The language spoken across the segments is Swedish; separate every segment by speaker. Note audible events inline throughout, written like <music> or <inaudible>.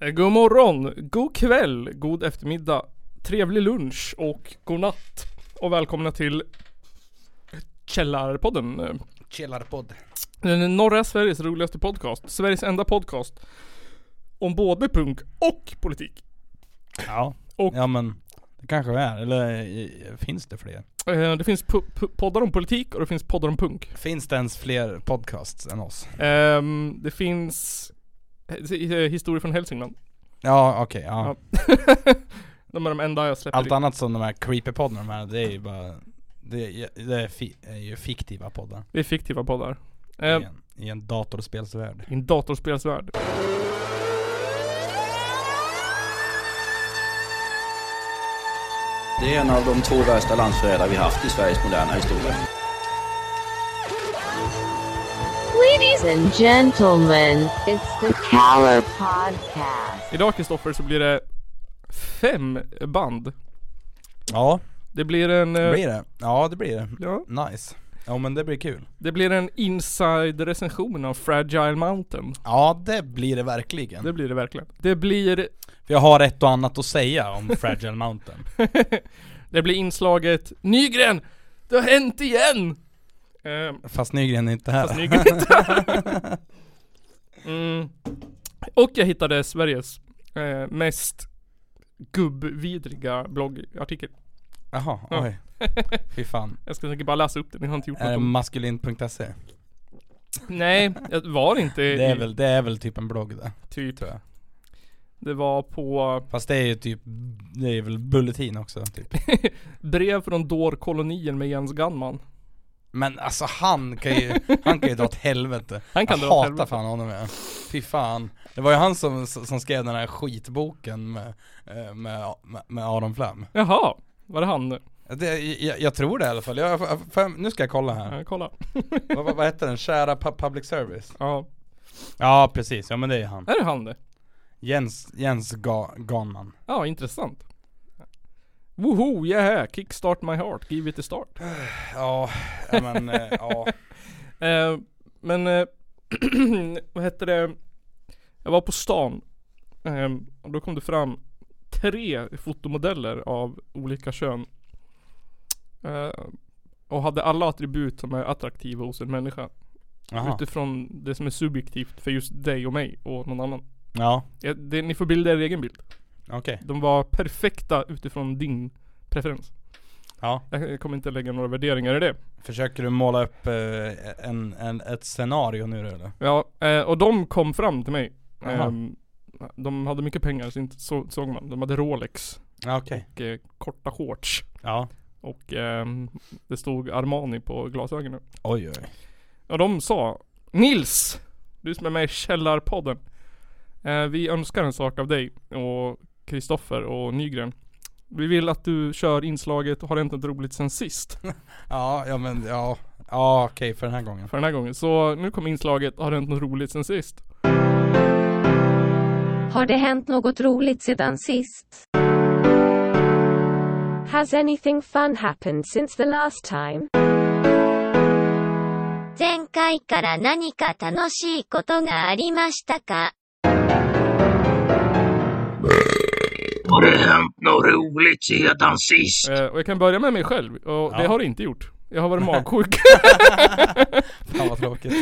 Speaker 1: Eh, God morgon, god kväll, god eftermiddag, trevlig lunch och god natt. Och välkomna till Källarpodden. eh,
Speaker 2: Källarpodd.
Speaker 1: Den norra Sveriges roligaste podcast. Sveriges enda podcast om både punk och politik.
Speaker 2: Ja.
Speaker 1: Och-
Speaker 2: ja men det kanske vi är. Eller eh, finns det fler?
Speaker 1: Eh, Det finns pu- pu- poddar om politik och det finns poddar om punk.
Speaker 2: Finns det ens fler podcasts än oss?
Speaker 1: Ehm, Det finns eh, historier från Hälsingland.
Speaker 2: Ja okej, ja.
Speaker 1: Ja. De är de enda jag släpper.
Speaker 2: Allt
Speaker 1: in.
Speaker 2: annat som de här creepypoddarna de här, det är ju bara Det, är- det är, fi, är ju fiktiva poddar
Speaker 1: Det är fiktiva poddar.
Speaker 2: i,
Speaker 1: Eh,
Speaker 2: en, I en datorspelsvärld
Speaker 1: I en datorspelsvärld.
Speaker 3: Det är en av de två värsta landsförrädare vi haft i Sveriges moderna historia.
Speaker 4: Ladies and gentlemen, it's the Caller Podcast.
Speaker 1: Idag Kristoffer så blir det fem band.
Speaker 2: Ja,
Speaker 1: Det blir en... eh,
Speaker 2: det blir det. Ja det blir det.
Speaker 1: Ja,
Speaker 2: Nice. Ja men det blir kul.
Speaker 1: det blir en inside-recension av Fragile Mountain.
Speaker 2: Ja det blir det verkligen.
Speaker 1: Det blir det verkligen. Det blir...
Speaker 2: För jag har ett och annat att säga om Fragile Mountain.
Speaker 1: det blir inslaget Nygren! Det har hänt igen! Eh,
Speaker 2: <laughs> Fast Nygren är inte här. <laughs>
Speaker 1: fast Nygren är inte här. mm. Och jag hittade Sveriges eh, mest gubbvidriga bloggartikel.
Speaker 2: Jaha,
Speaker 1: Ja.
Speaker 2: oj. Fy fan.
Speaker 1: Jag ska säkert bara läsa upp den, jag har inte gjort
Speaker 2: Är det
Speaker 1: något. om-
Speaker 2: maskulin.se?
Speaker 1: Nej, jag var inte
Speaker 2: Det är,
Speaker 1: i-
Speaker 2: väl, det är väl typ en blogg det.
Speaker 1: typ.
Speaker 2: tror jag.
Speaker 1: Det var på
Speaker 2: Fast det är ju typ, det är väl bulletin också typ.
Speaker 1: Brev från dårkolonien med Jens Gunman.
Speaker 2: Men alltså han kan ju, han kan ju dra åt <laughs> helvete.
Speaker 1: Han kan
Speaker 2: jag
Speaker 1: dra åt
Speaker 2: hatar
Speaker 1: helvete.
Speaker 2: fan honom jag. Fy fan. Det var ju han som, som skrev den här skitboken med, eh, med, med, med Aron Flam.
Speaker 1: Jaha, var det han?
Speaker 2: Det, jag, jag tror det i alla fall. Jag, jag- för, nu ska jag kolla här.
Speaker 1: Ja, kolla.
Speaker 2: vad, vad, vad heter den? Kära pu- public service?
Speaker 1: Ja,
Speaker 2: Ja precis, ja men det är han.
Speaker 1: är det han det?
Speaker 2: Jens, Jens Ga, Ganman.
Speaker 1: Ja, intressant. Woho, yeah, kickstart my heart, give it a start.
Speaker 2: Ja, ja, men eh, ja.
Speaker 1: Eh, men, eh, <clears throat> vad hette det? Jag var på stan. Eh, och då kom det fram tre fotomodeller av olika kön. Eh, och hade alla attribut som är attraktiva hos en människa.
Speaker 2: Jaha.
Speaker 1: Utifrån det som är subjektivt för just dig och mig och någon annan.
Speaker 2: Ja,
Speaker 1: Ja, det, ni får bilda er egen bild.
Speaker 2: okej.
Speaker 1: De var perfekta utifrån din preferens.
Speaker 2: Ja.
Speaker 1: Jag kommer inte lägga några värderingar i det.
Speaker 2: Försöker du måla upp eh, en, en, ett scenario nu då, eller?
Speaker 1: Ja, eh, och de kom fram till mig.
Speaker 2: Jaha.
Speaker 1: Ehm, de hade mycket pengar så inte så, såg man. De hade Rolex
Speaker 2: Ja okej.
Speaker 1: och eh, korta shorts.
Speaker 2: Ja.
Speaker 1: Och ehm, det stod Armani på glasögonen.
Speaker 2: Oj oj.
Speaker 1: Och de sa Nils! Du som är med i Källarpodden. Eh, vi önskar en sak av dig och Kristoffer och Nygren. Vi vill att du kör inslaget Har hänt något roligt sen sist?
Speaker 2: Ja, ja men ja. Ja okej för den här gången.
Speaker 1: för den här gången. Så nu kommer inslaget Har det hänt något roligt sen sist?
Speaker 5: Har det hänt något roligt sedan sist? Has anything fun happened since the last time?
Speaker 6: 前回から何か楽しいことがありましたか
Speaker 7: Har det hänt något roligt sedan sist?
Speaker 1: Eh, och jag kan börja med mig själv och det
Speaker 2: Ja.
Speaker 1: har det inte gjort. Jag har varit magsjuk. <laughs>
Speaker 2: Fan vad tråkigt.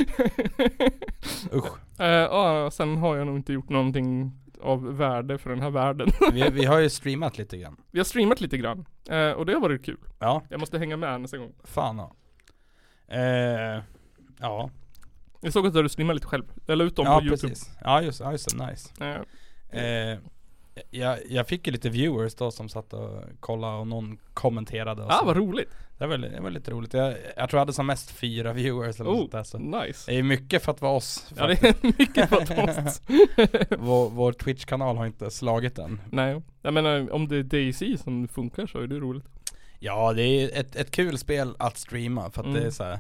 Speaker 2: <laughs> Usch.
Speaker 1: eh, ja, sen har jag nog inte gjort någonting av värde för den här världen. <laughs>
Speaker 2: Vi, vi har ju streamat lite grann.
Speaker 1: Vi har streamat lite grann eh, och det har varit kul.
Speaker 2: Ja,
Speaker 1: Jag måste hänga med nästa gång.
Speaker 2: fan ja. Eh, ja,
Speaker 1: Jag såg att du streamade lite själv. Jag la ut dem
Speaker 2: ja
Speaker 1: på Youtube.
Speaker 2: precis. Ja just, ja, just det, nice.
Speaker 1: Eh,
Speaker 2: Eh, jag, jag fick ju lite viewers då som satt och kollade och någon kommenterade och
Speaker 1: ah,
Speaker 2: så.
Speaker 1: vad roligt.
Speaker 2: Det var, li- det var lite roligt. Jag, jag tror jag hade som mest fyra viewers eller något sånt
Speaker 1: Oh,
Speaker 2: där, så.
Speaker 1: nice.
Speaker 2: Det är mycket för att vara oss.
Speaker 1: Ja, det
Speaker 2: faktiskt.
Speaker 1: är <laughs> mycket
Speaker 2: <laughs>
Speaker 1: för att oss.
Speaker 2: vår, vår Twitch-kanal har inte slagit den.
Speaker 1: Nej, jag menar om det är DayZ som funkar så är det roligt.
Speaker 2: Ja, det är ett, ett kul spel att streama för att
Speaker 1: Mm.
Speaker 2: det är så här.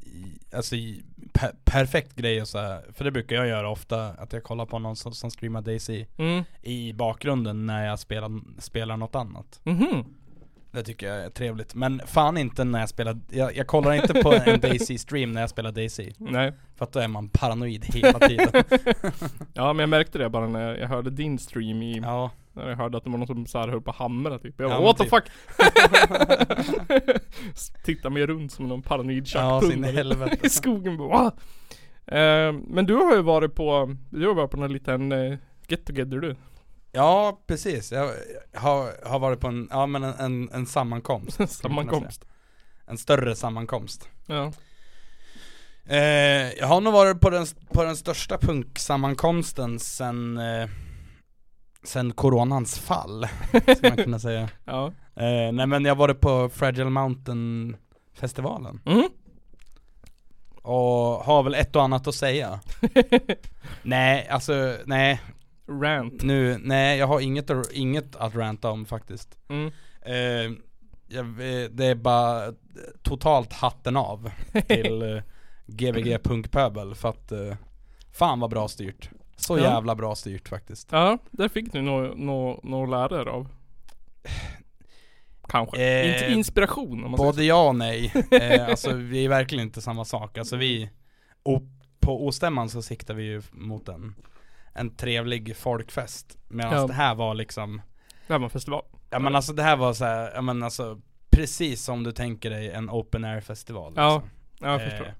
Speaker 2: i- Alltså i- per, perfekt grej och så här, för det brukar jag göra ofta, att jag kollar på någon som, som streamar DayZ
Speaker 1: Mm.
Speaker 2: Mm. i bakgrunden när jag spelar, spelar något annat.
Speaker 1: Mhm.
Speaker 2: Det tycker jag är trevligt. Men fan inte när jag spelar, jag, jag kollar inte på en Daisy-stream när jag spelar Daisy.
Speaker 1: Nej.
Speaker 2: För att då är man paranoid hela <laughs> tiden.
Speaker 1: Ja men jag märkte det bara när jag hörde din stream i,
Speaker 2: Ja,
Speaker 1: när jag hörde att det var någon som så här höll på att hamra typ. Jag
Speaker 2: Ja,
Speaker 1: bara,
Speaker 2: men
Speaker 1: what
Speaker 2: typ.
Speaker 1: the fuck? <laughs> Tittar mig runt som någon paranoid
Speaker 2: ja så in i
Speaker 1: tjackpundare.
Speaker 2: helvete.
Speaker 1: i skogen bara "Wah!" eh, Men du har ju varit på, du har varit på någon liten eh, get together du <laughs>
Speaker 2: Ja, precis. Jag har, har varit på en, ja men en, en,
Speaker 1: <laughs>
Speaker 2: en sammankomst.
Speaker 1: Sammankomst
Speaker 2: En större sammankomst.
Speaker 1: Ja,
Speaker 2: Eh, jag har nog varit på den, på den största punksammankomsten sen, eh, sen coronans fall, <laughs> skulle man kunna säga.
Speaker 1: ja
Speaker 2: Eh, nej men jag var på Fragile Mountain festivalen
Speaker 1: mm.
Speaker 2: och har väl ett och annat att säga. nej, alltså nej,
Speaker 1: Rant
Speaker 2: nu, nej jag har inget, att- inget att ranta om faktiskt.
Speaker 1: mm.
Speaker 2: Eh, jag, eh, det är bara totalt
Speaker 1: <laughs>
Speaker 2: hatten av till eh, GBG punkpöbel för att eh, fan vad bra styrt. Så
Speaker 1: Ja.
Speaker 2: jävla bra styrt faktiskt.
Speaker 1: Ja, där fick du något nå, nå lära er av Kanske,
Speaker 2: Eh,
Speaker 1: inte inspiration om man säger
Speaker 2: Både ja
Speaker 1: <laughs>
Speaker 2: och nej. Eh, alltså vi är verkligen inte samma sak. Alltså vi, och på ostämman så siktar vi ju mot en, en trevlig folkfest. Medan
Speaker 1: Ja.
Speaker 2: det här var liksom,
Speaker 1: så. Det här var en festival
Speaker 2: ja men alltså det här var så här, ja men alltså precis som du tänker dig en open air festival.
Speaker 1: Ja,
Speaker 2: liksom.
Speaker 1: ja jag förstår
Speaker 2: Eh,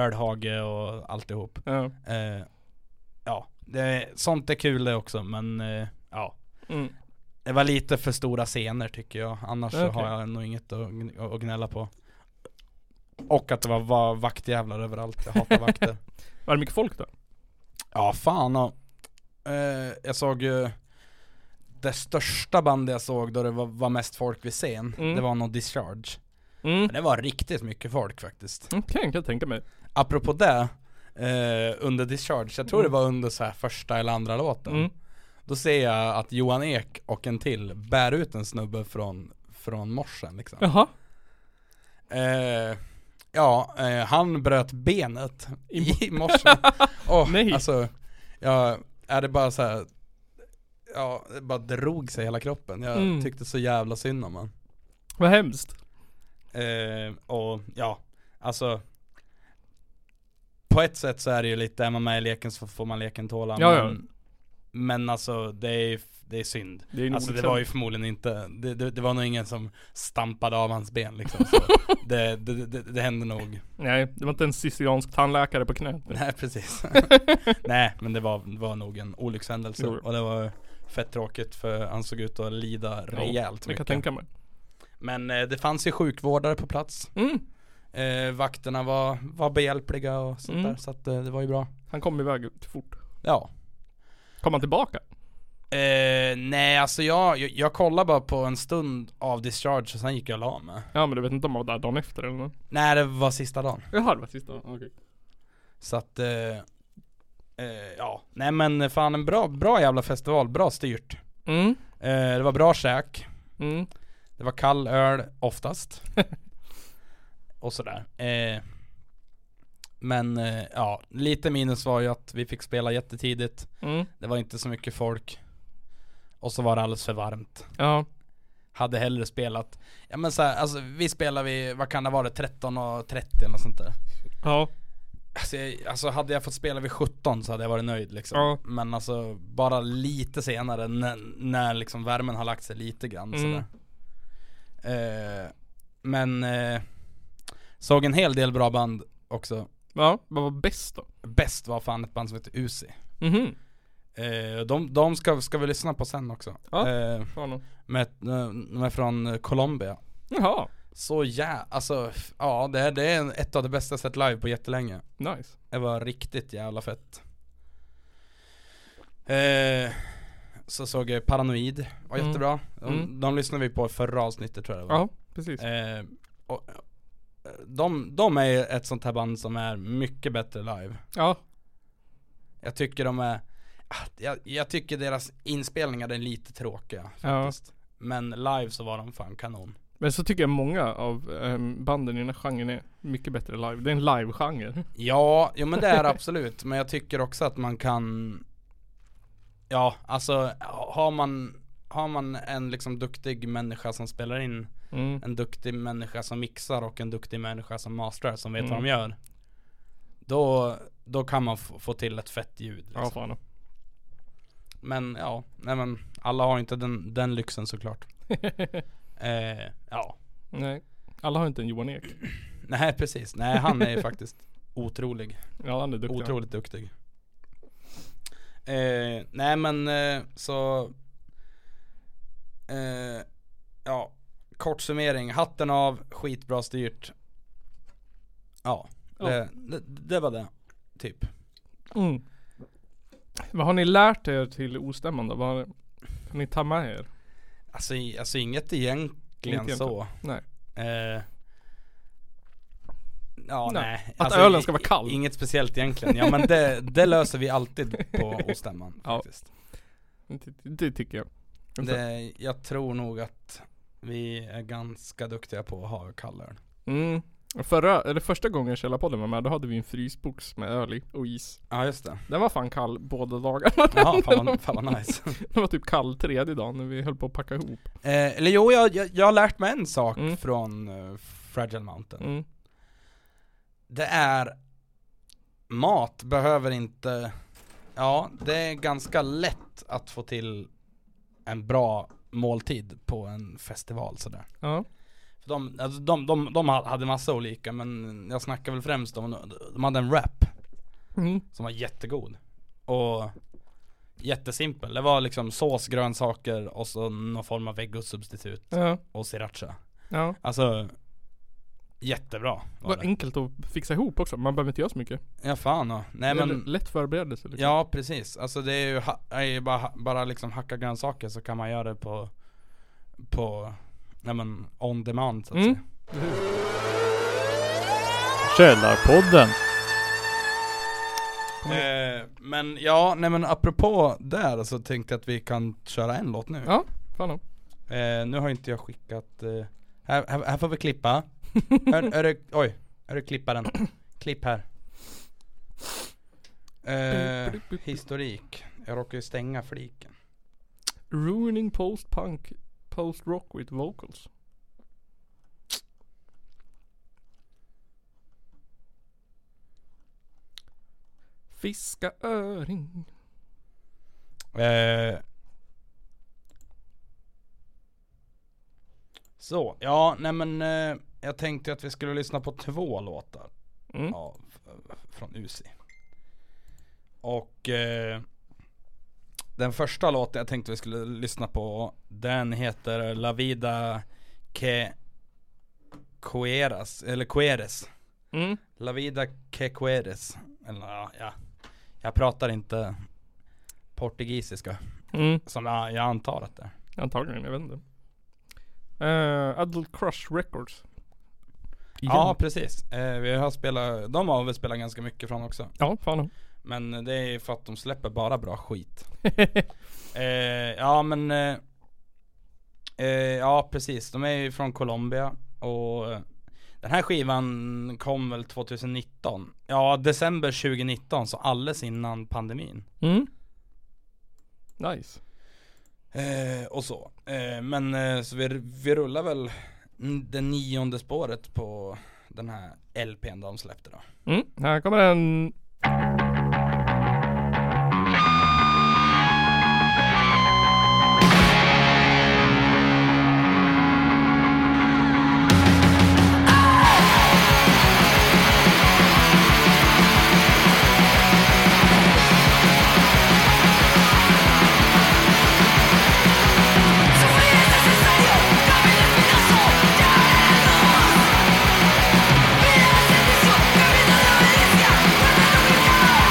Speaker 2: ölhage och alltihop.
Speaker 1: ja.
Speaker 2: Eh, ja, det, sånt är kul det också men eh, ja.
Speaker 1: Mm.
Speaker 2: Det var lite för stora scener tycker jag, annars så
Speaker 1: Okej.
Speaker 2: har jag nog inget att, gn- att gnälla på Och att det var, var vaktjävlar överallt, jag
Speaker 1: <laughs>
Speaker 2: hatar vakter
Speaker 1: Var det mycket folk då?
Speaker 2: Ja fan och, eh, Jag såg ju Det största bandet jag såg då det var, var mest folk vid scen,
Speaker 1: Mm.
Speaker 2: det var nog Discharge
Speaker 1: Mm.
Speaker 2: Men Det var riktigt mycket folk faktiskt
Speaker 1: Okej, kan jag tänka mig
Speaker 2: Apropå det eh, under Discharge, jag tror det var under så här första eller andra låten
Speaker 1: mm.
Speaker 2: Då ser jag att Johan Ek och en till bär ut en snubbe från, från morsen liksom
Speaker 1: Jaha,
Speaker 2: Eh, ja, eh, han bröt benet
Speaker 1: I-
Speaker 2: i <laughs> morse. Åh,
Speaker 1: Nej.
Speaker 2: Alltså, jag är det bara så här. Ja, det bara drog sig hela kroppen. Jag
Speaker 1: Mm.
Speaker 2: tyckte så jävla synd om han.
Speaker 1: vad hemskt
Speaker 2: Eh, och ja, alltså. På ett sätt så är det ju lite, är man med i leken så får man leken tåla.
Speaker 1: Ja, ja.
Speaker 2: men, men alltså det är, det är synd.
Speaker 1: Det är en
Speaker 2: Alltså det
Speaker 1: olyckshändelse.
Speaker 2: var ju förmodligen inte, det, det, det var nog ingen som stampade av hans ben liksom.
Speaker 1: <laughs>
Speaker 2: Så det, det, det, det hände nog.
Speaker 1: Nej, det var inte en siciliansk tandläkare på knät
Speaker 2: <laughs> Nej
Speaker 1: <laughs>
Speaker 2: precis. Nej men det var, var nog en olyckshändelse
Speaker 1: Jo.
Speaker 2: och det var fett tråkigt för han såg ut att lida rejält
Speaker 1: Det kan jag
Speaker 2: mycket.
Speaker 1: tänka mig
Speaker 2: Men eh, det fanns ju sjukvårdare på plats.
Speaker 1: mm.
Speaker 2: Eh, vakterna var, var behjälpliga och sånt
Speaker 1: Mm.
Speaker 2: där så att eh, det var ju bra.
Speaker 1: Han kom iväg fort
Speaker 2: Ja.
Speaker 1: Kom han tillbaka?
Speaker 2: Eh, nej alltså jag, jag, jag kollade bara på en stund av discharge och sen gick jag och la mig.
Speaker 1: Ja men du vet inte om han var där dagen efter eller något?
Speaker 2: Nej det var sista dagen.
Speaker 1: Jaha det var sista, okej
Speaker 2: Så att, eh, eh, ja. Nej men fan en bra, bra jävla festival, bra styrt.
Speaker 1: Mm,
Speaker 2: Eh, det var bra käk.
Speaker 1: mm,
Speaker 2: Det var kall öl oftast. och sådär. Eh, men eh, ja, lite minus var ju att vi fick spela jättetidigt.
Speaker 1: mm,
Speaker 2: Det var inte så mycket folk. Och så var det alldeles för varmt.
Speaker 1: ja,
Speaker 2: Hade hellre spelat, ja men så här, alltså vi spelade vid, vad kan det vara, 13 och 30 eller något sånt där.
Speaker 1: ja,
Speaker 2: Alltså, jag, alltså hade jag fått spela vid 17 så hade jag varit nöjd liksom.
Speaker 1: Ja.
Speaker 2: Men alltså bara lite senare när, när liksom värmen har lagt sig lite grann
Speaker 1: Mm.
Speaker 2: sådär. Eh, men eh, såg en hel del bra band också.
Speaker 1: ja, vad var bäst då?
Speaker 2: Bäst var fan ett band som heter Uzi.
Speaker 1: Mhm,
Speaker 2: Eh, de de ska, ska vi lyssna på sen också.
Speaker 1: Ja.
Speaker 2: Eh,
Speaker 1: fan då.
Speaker 2: med, de är från eh, Colombia.
Speaker 1: Jaha,
Speaker 2: Så ja, alltså f- ja det, är- det är ett av de bästa jag sett live på jättelänge.
Speaker 1: nice
Speaker 2: Det var riktigt jävla fett. Eh, så såg jag Paranoid, var
Speaker 1: Mm.
Speaker 2: jättebra. De,
Speaker 1: Mm.
Speaker 2: de lyssnade vi på i förra avsnittet tror jag det var.
Speaker 1: Ja, precis
Speaker 2: Eh, och, eh, de, de är ju ett sånt här band som är mycket bättre live.
Speaker 1: Ja,
Speaker 2: Jag tycker de är, ah, jag, jag tycker deras inspelningar är lite tråkiga
Speaker 1: ja
Speaker 2: faktiskt. Men live så var de fan kanon.
Speaker 1: Men så tycker jag många av ehm, banden i den här genren är mycket bättre live Det är en live-genre
Speaker 2: Ja, jo men det är det absolut. Men jag tycker också att man kan Ja, alltså har man har man en liksom duktig människa som spelar in
Speaker 1: Mm.
Speaker 2: en duktig människa som mixar och en duktig människa som masterar som vet
Speaker 1: Mm.
Speaker 2: vad de gör. Då, då kan man f- få till ett fett ljud. Liksom.
Speaker 1: Ja fan.
Speaker 2: Men ja, nej men alla har inte den, den
Speaker 1: <laughs>
Speaker 2: lyxen såklart. eh, ja,
Speaker 1: Nej. Alla har inte en Johan Ek.
Speaker 2: nej precis. Nej han är ju faktiskt otrolig.
Speaker 1: Ja han är duktig.
Speaker 2: Otroligt duktig. Eh, nej men eh, så eh, Ja Kort summering, hatten av, skitbra styrt Ja, Det, det, det var det Typ
Speaker 1: Mm. Vad har ni lärt er till ostämman då? Vad har kan ni ta med er?
Speaker 2: Alltså, i- alltså inget egentligen
Speaker 1: Inte
Speaker 2: så
Speaker 1: Nej.
Speaker 2: eh, Ja
Speaker 1: Nej.
Speaker 2: nej, Alltså,
Speaker 1: Att ölen ska vara kall.
Speaker 2: i- Inget speciellt egentligen, ja men det, det löser vi alltid på ostämman
Speaker 1: Ja.
Speaker 2: faktiskt
Speaker 1: Det, det tycker jag.
Speaker 2: Det, jag tror nog att vi är ganska duktiga på att ha kallöl.
Speaker 1: Mm. Förra, eller första gången Källarpodden var med då hade vi en frysbox med öl i och is.
Speaker 2: Ja just det.
Speaker 1: Den var fan kall båda dagarna. <laughs>
Speaker 2: Jaha, fan vad, fan vad <laughs> nice.
Speaker 1: Den var typ kall tredje dagen när vi höll på att packa ihop.
Speaker 2: eh, eller jo, jag, jag, jag har lärt mig en sak
Speaker 1: Mm.
Speaker 2: från eh, Fragile Mountain.
Speaker 1: Mm.
Speaker 2: Det är mat behöver inte, ja det är ganska lätt att få till en bra måltid på en festival sådär.
Speaker 1: Ja.
Speaker 2: För de, alltså, de, de, de hade massa olika men jag snackar väl främst om, de hade en wrap.
Speaker 1: Mm.
Speaker 2: som var jättegod. Och jättesimpel. Det var liksom sås, grönsaker och så någon form av vegosubstitut
Speaker 1: Ja.
Speaker 2: och sriracha.
Speaker 1: Ja.
Speaker 2: Alltså jättebra var
Speaker 1: Vad
Speaker 2: det.
Speaker 1: enkelt att fixa ihop också. Man behöver inte göra så mycket.
Speaker 2: Ja fan och, nej
Speaker 1: Det är l-
Speaker 2: men
Speaker 1: lätt förberedelse liksom.
Speaker 2: Ja precis, alltså det är ju, ha, är ju bara, bara liksom hacka grönsaker så kan man göra det på På Nej men on demand så att
Speaker 1: Mm.
Speaker 2: säga.
Speaker 8: Källarpodden.
Speaker 2: Eh, Men ja, nej men apropå där så tänkte jag att vi kan köra en låt nu
Speaker 1: Ja. Fan om.
Speaker 2: Eh, nu har inte jag skickat, eh, här, här, här får vi klippa. är, är det, oj, är det klipparen? Klipp här. Eh, historik. Jag råkar ju stänga fliken.
Speaker 1: Ruining post-punk, post-rock with vocals. Fiska öring.
Speaker 2: Eh. Så, ja nej men eh, jag tänkte att vi skulle lyssna på två låtar.
Speaker 1: Mm.
Speaker 2: av, från Uzi. Och eh, den första låten jag tänkte vi skulle lyssna på, den heter La Vida Que Queras, eller Queres.
Speaker 1: Mm.
Speaker 2: La Vida Que Queres. Eller ja, ja. jag pratar inte portugisiska,
Speaker 1: Mm.
Speaker 2: som jag, jag antar att det är.
Speaker 1: Antagligen, jag vet inte. Eh, Adult Crush Records. Igen.
Speaker 2: Ja precis, eh, vi har spelat, de har vi spelat ganska mycket från också.
Speaker 1: Ja, fan.
Speaker 2: Men det är för att de släpper bara bra skit.
Speaker 1: <laughs>
Speaker 2: Eh, ja men eh, eh, Ja precis, de är ju från Colombia och eh, den här skivan kom väl 2019 Ja december 2019 så alldeles innan pandemin
Speaker 1: Mm. Nice.
Speaker 2: eh, Och så eh, Men eh, så vi, vi rullar väl n- det nionde spåret på den här LPn de släppte då
Speaker 1: Mm. Här kommer en.
Speaker 9: Yeah.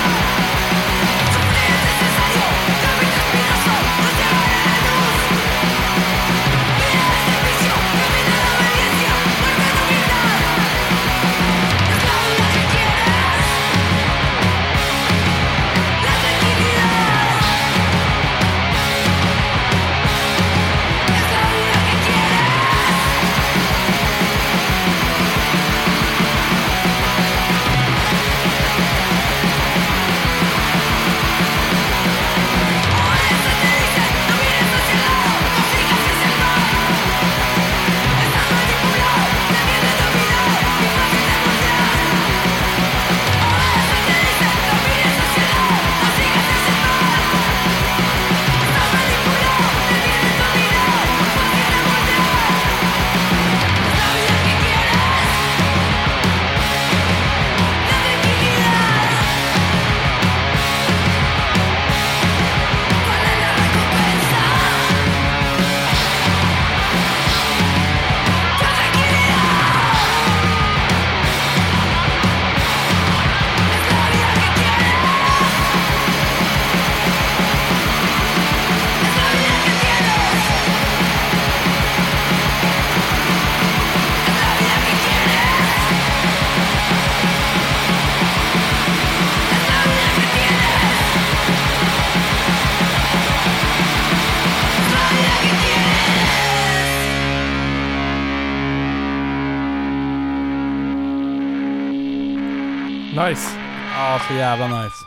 Speaker 1: Nice.
Speaker 2: Ja, så jävla nice.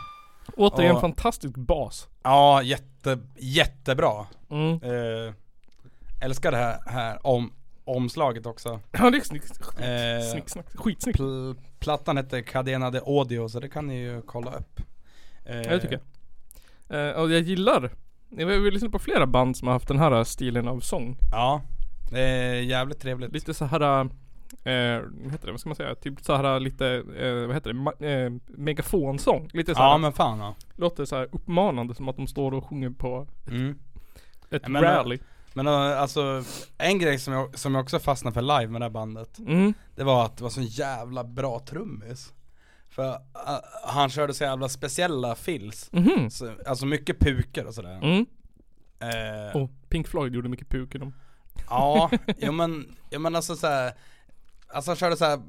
Speaker 1: Återigen
Speaker 2: Ja.
Speaker 1: fantastisk bas.
Speaker 2: Ja, jätte, jättebra.
Speaker 1: Mm. <clears throat>
Speaker 2: Eh, älskar det här, här om, omslaget också.
Speaker 1: Ja det är snick, skit,
Speaker 2: Eh,
Speaker 1: snick, snack, skitsnyggt.
Speaker 2: Pl- plattan heter Cadena de Audio, så det kan ni ju kolla upp. Eh,
Speaker 1: Ja, det tycker jag. Eh, och jag gillar, jag vill vill lyssna på flera band som har haft den här eh, stilen av sång.
Speaker 2: Ja, det är jävligt trevligt.
Speaker 1: Lite så här eh, vad heter det, vad ska man säga? Typ så här lite, eh, vad heter det, Ma- eh, megafonsång. Lite så här,
Speaker 2: ja men fan ja.
Speaker 1: låter så här uppmanande som att de står och sjunger på
Speaker 2: Mm.
Speaker 1: ett
Speaker 2: Ja, men-
Speaker 1: rally.
Speaker 2: Men eh, alltså, en grej som jag, som jag också fastnade för live med det här bandet,
Speaker 1: Mm.
Speaker 2: det var att det var så jävla bra trummis. För eh, han körde så jävla speciella fills.
Speaker 1: Mhm.
Speaker 2: Så, alltså mycket puker och sådär.
Speaker 1: Mm.
Speaker 2: Eh,
Speaker 1: Och Pink Floyd gjorde mycket puk i dem.
Speaker 2: Ja, jo men, jo, men alltså såhär Alltså han körde såhär,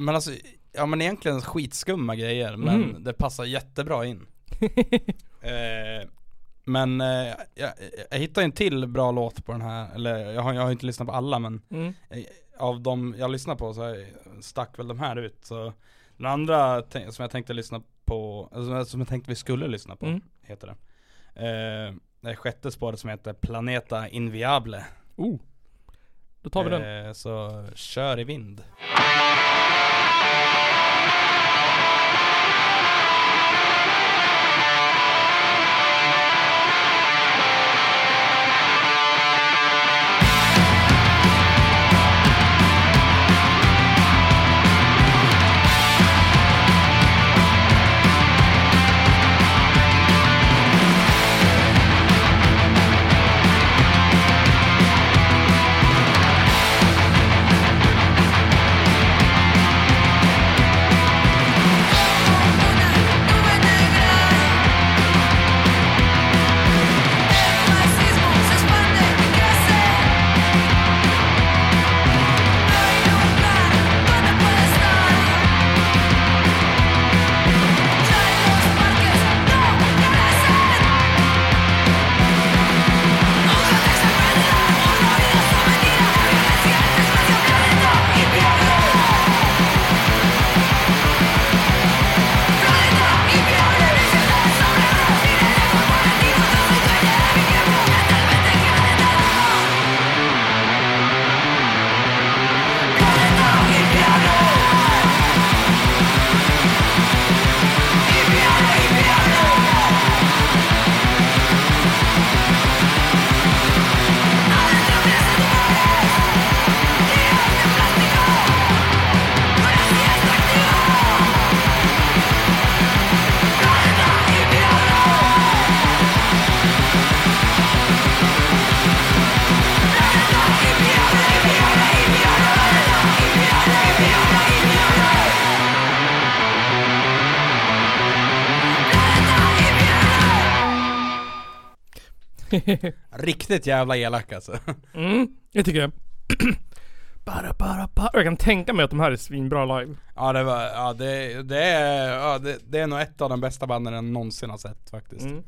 Speaker 2: men alltså Ja men egentligen skitskumma grejer men
Speaker 1: Mm.
Speaker 2: det passar jättebra
Speaker 1: <laughs>
Speaker 2: in eh, Men eh, jag, jag, jag hittade en till bra låt på den här, eller jag har, jag har inte lyssnat på alla men
Speaker 1: Mm.
Speaker 2: eh, Av de jag lyssnar på så här stack väl de här ut så Den andra tän- som jag tänkte lyssna på, eller som jag- som jag tänkte vi skulle lyssna på
Speaker 1: Mm.
Speaker 2: heter det eh, Det är sjätte spåret som heter Planeta Inviable
Speaker 1: Oh. Då tar vi den.
Speaker 2: Eh, Så kör i vind. Eh. Riktigt jävla elak alltså. <laughs>
Speaker 1: Mm, <laughs> det tycker jag. <clears throat> bara, bara, bara. Jag kan tänka mig att de här är svinbra live.
Speaker 2: Ja det var, ja det, det är, ja, det, det är nog ett av de bästa banden jag någonsin har sett faktiskt.
Speaker 1: Mm.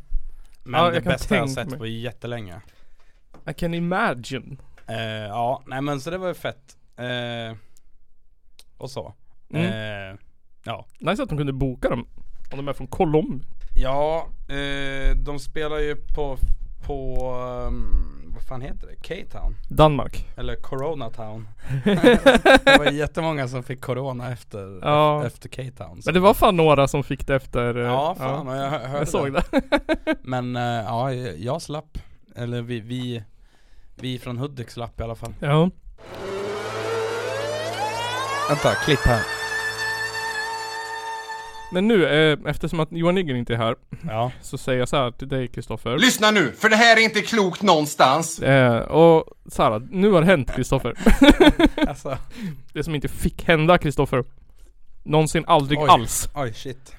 Speaker 2: Men
Speaker 1: Ja,
Speaker 2: det
Speaker 1: jag kan
Speaker 2: bästa jag har
Speaker 1: tänka
Speaker 2: sett
Speaker 1: mig.
Speaker 2: på jättelänge.
Speaker 1: I can imagine.
Speaker 2: Eh, ja, nej men så det var ju fett. Eh, och så.
Speaker 1: Mm.
Speaker 2: Eh, ja.
Speaker 1: Nice att de kunde boka dem. Om de är från Colombia.
Speaker 2: Ja, eh, de spelar ju på, på, ehm, vad fan heter det? K-Town?
Speaker 1: Danmark.
Speaker 2: Eller
Speaker 1: <laughs>
Speaker 2: Corona Town. det var ju jättemånga som fick corona efter,
Speaker 1: Ja.
Speaker 2: efter K-Town. så-
Speaker 1: Men det var fan några som fick det efter... eh,
Speaker 2: Ja, fan jag hör- hörde
Speaker 1: Jag såg det. <laughs>
Speaker 2: Men eh, ja, jag slapp. Eller vi, vi, vi från Hudik slapp i alla fall.
Speaker 1: Ja.
Speaker 2: Vänta, klipp här.
Speaker 1: Men nu, eh, eftersom att Johan Nygren inte är här,
Speaker 2: Ja.
Speaker 1: så säger jag så här till dig Kristoffer.
Speaker 9: Lyssna nu, för det här är inte klokt någonstans.
Speaker 1: Eh, och så här, nu har det hänt Kristoffer. <laughs>
Speaker 2: Alltså,
Speaker 1: det som inte fick hända Kristoffer. Någonsin aldrig
Speaker 2: Oj.
Speaker 1: alls.
Speaker 2: oj shit.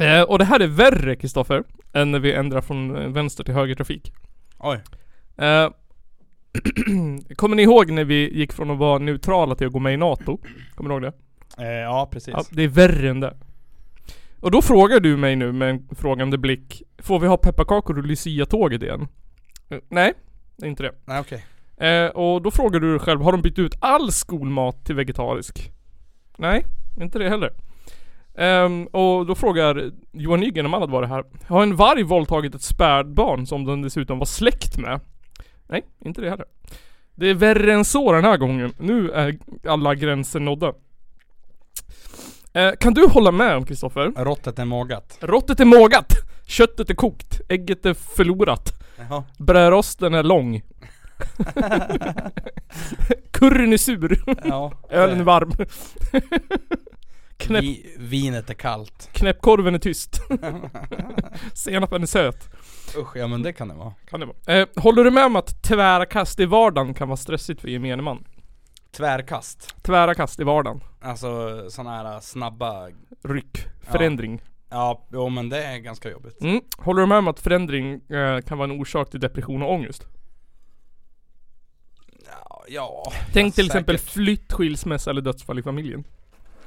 Speaker 1: Eh, och det här är värre Kristoffer, än när vi ändrar från eh, vänster till höger trafik.
Speaker 2: Oj.
Speaker 1: Eh, <clears throat> Kommer ni ihåg när vi gick från att vara neutrala till att gå med i NATO? Kommer ni ihåg det?
Speaker 2: Eh, ja, precis.
Speaker 1: Ja, det är värre än det. Och då frågar du mig nu med en frågande blick, får vi ha pepparkakor och Lucia-tåget igen? Eh, Nej, det är inte det.
Speaker 2: Nej okej.
Speaker 1: Eh, och då frågar du dig själv, har de bytt ut all skolmat till vegetarisk? Nej, inte det heller. Ehm, och då frågar Johan Nygren om han hade varit här. Har en varg våldtagit ett spädbarn som den dessutom var släkt med? Nej, inte det heller. Det är värre än så den här gången. Nu är alla gränser nådda. Eh, kan du hålla med om Kristoffer?
Speaker 2: Råttet är mågat.
Speaker 1: Råttet är mågat! Köttet är kokt! Ägget är förlorat!
Speaker 2: Jaha.
Speaker 1: Brödrosten är lång. Curryn är sur.
Speaker 2: Ja.
Speaker 1: <laughs> Ölen är varm. knäpp.
Speaker 2: Vi, vinet är kallt.
Speaker 1: Knäppkorven är tyst. Senapen är söt.
Speaker 2: Usch, ja men det kan det vara.
Speaker 1: Kan det vara. Eh, håller du med om att tvära kast i vardagen kan vara stressigt för gemene man?
Speaker 2: Tvärkast.
Speaker 1: Tvära kast i vardagen.
Speaker 2: Alltså sådana här snabba
Speaker 1: Ryck. Förändring.
Speaker 2: Ja, jo men det är ganska jobbigt.
Speaker 1: Mm. Håller du med om att förändring eh, kan vara en orsak till depression och ångest?
Speaker 2: Ja, ja.
Speaker 1: Tänk till
Speaker 2: säkert.
Speaker 1: exempel flytt, skilsmässa eller dödsfall i familjen.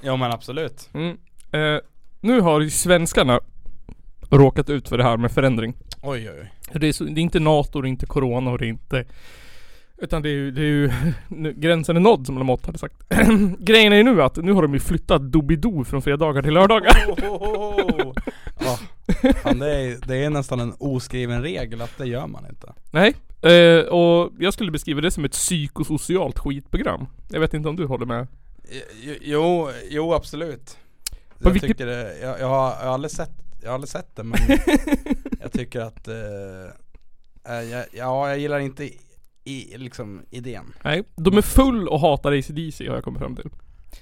Speaker 2: Jo men absolut.
Speaker 1: Mm. Eh, nu har ju svenskarna råkat ut för det här med förändring.
Speaker 2: Oj oj oj.
Speaker 1: Det är, så, det är inte NATO, det är inte Corona och det är inte... Utan det är ju, det är ju nu, gränsen är nådd som Lamotte hade sagt. <clears throat> Grejen är ju nu att nu har de ju flyttat Doobidoo från fredagar till lördagar. <laughs>
Speaker 2: Ohohoho. Ja, fan, det, är, det är nästan en oskriven regel att det gör man inte.
Speaker 1: Nej. Eh, och jag skulle beskriva det som ett psykosocialt skitprogram. Jag vet inte om du håller med?
Speaker 2: Jo- Jo, jo absolut.
Speaker 1: På
Speaker 2: Jag
Speaker 1: vilket-
Speaker 2: tycker det, jag, jag, har, jag har aldrig sett, jag har aldrig sett <laughs> det men jag tycker att, eh, eh, jag, ja jag gillar inte i, i, liksom idén.
Speaker 1: Nej. De är full och hatar ACDC har jag kommit fram till.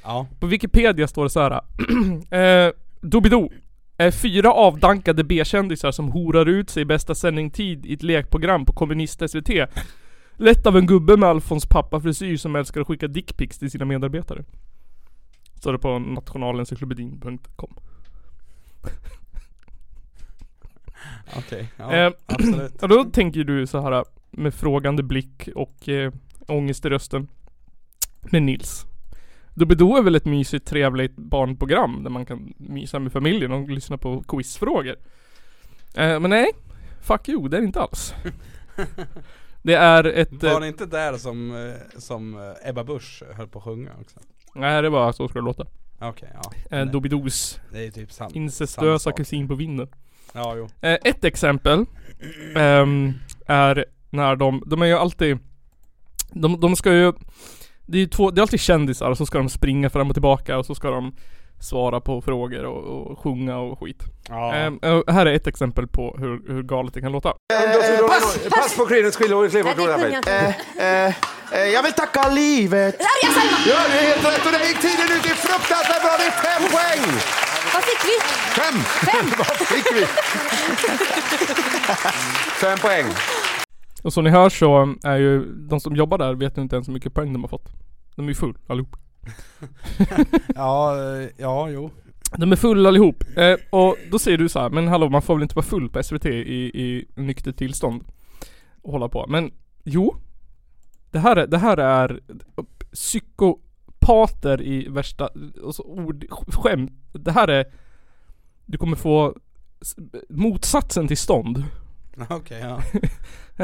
Speaker 2: Ja.
Speaker 1: På Wikipedia står det så här. <clears throat> eh, Doobidoo. Eh, fyra avdankade B-kändisar som horar ut sig i bästa sändningstid i ett lekprogram på kommunist-SVT. Lett av en gubbe med Alfons pappafrisyr som älskar att skicka dickpics till sina medarbetare. Står det på nationalencyklopedin.com.
Speaker 2: Okej, ja,
Speaker 1: Eh,
Speaker 2: absolut.
Speaker 1: Och <clears throat> då tänker du så här äh, med frågande blick och eh, ångest i rösten. Med Nils. Doobidoo är väl ett mysigt trevligt barnprogram där man kan mysa med familjen och lyssna på quizfrågor. Eh, men nej, fuck you, det är det inte
Speaker 2: <laughs>
Speaker 1: alls. Det är ett... Eh,
Speaker 2: Var det inte där som, eh, som eh, Ebba Busch höll på att sjunga också?
Speaker 1: nej, det var så ska det låta.
Speaker 2: Okej, ja.
Speaker 1: Eh,
Speaker 2: Nej.
Speaker 1: Doobidoos
Speaker 2: Det är ju typ sant. Samma
Speaker 1: incestuösa
Speaker 2: sak.
Speaker 1: kusin på vinden.
Speaker 2: Ja, jo.
Speaker 1: Eh, ett exempel ehm, är när de, de är ju alltid, de, de ska ju, det är ju två, det är alltid kändisar och så ska de springa fram och tillbaka och så ska de svara på frågor och, och sjunga och skit.
Speaker 2: Ja.
Speaker 1: Ehm, eh, här är ett exempel på hur, hur galet det kan låta.
Speaker 10: Pass på kvinnors skiljeår i Kleveland. Jag vill tacka livet.
Speaker 9: Ja, det är helt rätt och där gick tiden ut. Det är fruktansvärt bra. Det är fem poäng!
Speaker 11: Vad fick vi?
Speaker 9: Fem! Fem! Vad fick vi? Fem poäng.
Speaker 1: Och som ni hör så är ju de som jobbar där vet ju inte ens hur mycket poäng de har fått. De är ju full allihop.
Speaker 2: ja, eh, ja, jo.
Speaker 1: De är fulla allihop. Eh, och då säger du så här, men hallå man får väl inte vara full på SVT i, i nyktert tillstånd och hålla på. Men jo. Det här, är- det här är psykopater i värsta, alltså ord, skämt. Det här är, du kommer få s- motsatsen till stånd.
Speaker 2: <laughs> Okej, <laughs> ja.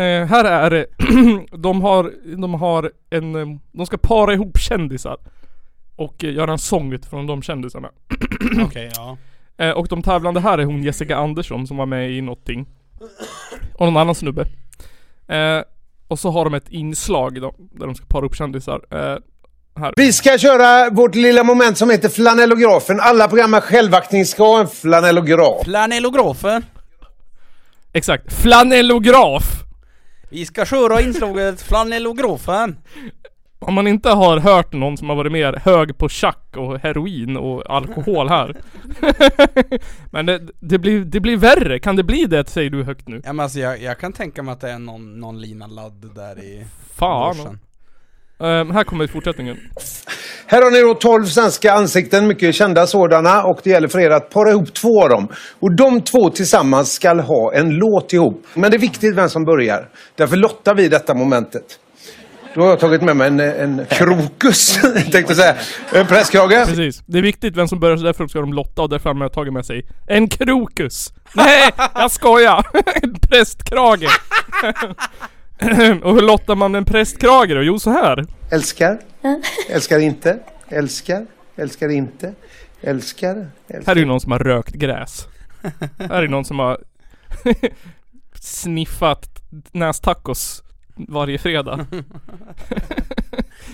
Speaker 1: Eh, här är det, <clears throat> de har, de har en, eh, de ska para ihop kändisar. Och eh, göra en sång utifrån de kändisarna.
Speaker 2: Okej, ja.
Speaker 1: Eh, och de tävlande här är hon Jessica Andersson som var med i någonting. Och någon annan snubbe. Eh, och så har de ett inslag då, där de ska para upp kändisar. Eh, här.
Speaker 10: Vi ska köra vårt lilla moment som heter flanellografen. Alla program med självaktning ska ha en flanellograf.
Speaker 2: Planellografen.
Speaker 1: Exakt. Flanellograf!
Speaker 2: Vi ska köra inslaget Flanellografen.
Speaker 1: Om man inte har hört någon som har varit mer hög på tjack och heroin och alkohol här. <laughs> Men det, det, blir, det blir värre. Kan det bli det säger du högt nu?
Speaker 2: Ja men alltså jag, jag kan tänka mig att det är någon, någon lina ladd där i
Speaker 1: Fan.
Speaker 2: börsen.
Speaker 1: Eh, här kommer fortsättningen.
Speaker 10: Här har ni då 12 svenska ansikten, mycket kända sådana. Och det gäller för er att para ihop två av dem. Och de två tillsammans ska ha en låt ihop. Men det är viktigt vem som börjar. Därför lottar vi detta momentet. Då har jag tagit med mig en, en krokus, <laughs> tänkte jag säga. En presskrage.
Speaker 1: Precis. Det är viktigt vem som börjar så därför ska de lotta och därför har jag tagit med sig en krokus. Nej, jag skojar! <laughs> En prästkrage. <laughs> och hur lottar man en prästkrage då? Jo så här.
Speaker 10: Älskar. Älskar inte. Älskar. Älskar inte. Älskar. älskar.
Speaker 1: Här är ju någon som har rökt gräs. Här är någon som har <laughs> sniffat nästacos varje fredag.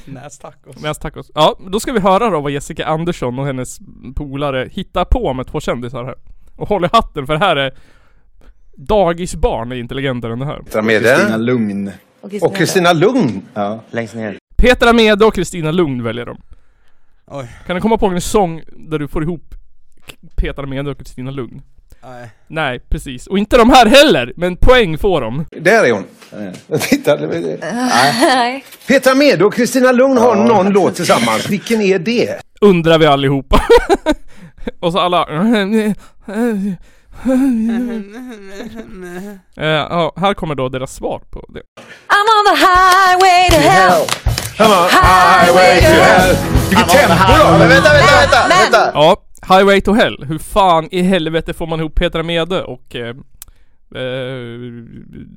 Speaker 2: Nästacos.
Speaker 1: Nästacos. Ja, då ska vi höra då vad Jessica Andersson och hennes polare hittar på med två kändisar här. Och håll i hatten för här är dagisbarn är intelligentare än det här.
Speaker 10: Med
Speaker 11: Lugn.
Speaker 10: och Kristina Lugn.
Speaker 11: Ja. Längst ner.
Speaker 1: Peter Amede och Kristina Lugn väljer de.
Speaker 2: Oj.
Speaker 1: Kan du komma på en sång där du får ihop K- Peter Amede och Kristina Lugn?
Speaker 2: Nej.
Speaker 1: Nej, precis. Och inte de här heller, men poäng får de.
Speaker 10: Där är hon. Titta. det var- Petra Mede och Kristina Lugn har någon låt tillsammans. Vilken är det?
Speaker 1: Undrar vi allihopa. <laughs> och så
Speaker 2: <laughs>
Speaker 1: alla... Eh, ja, här kommer då deras svar på det.
Speaker 12: I'm on the highway to hell.
Speaker 10: Highway to hell. Vilket tempo då! Men vänta, vänta, vänta! vänta.
Speaker 1: Ja, Highway to Hell. Hur fan i helvete får man ihop Petra Mede och eh, eh,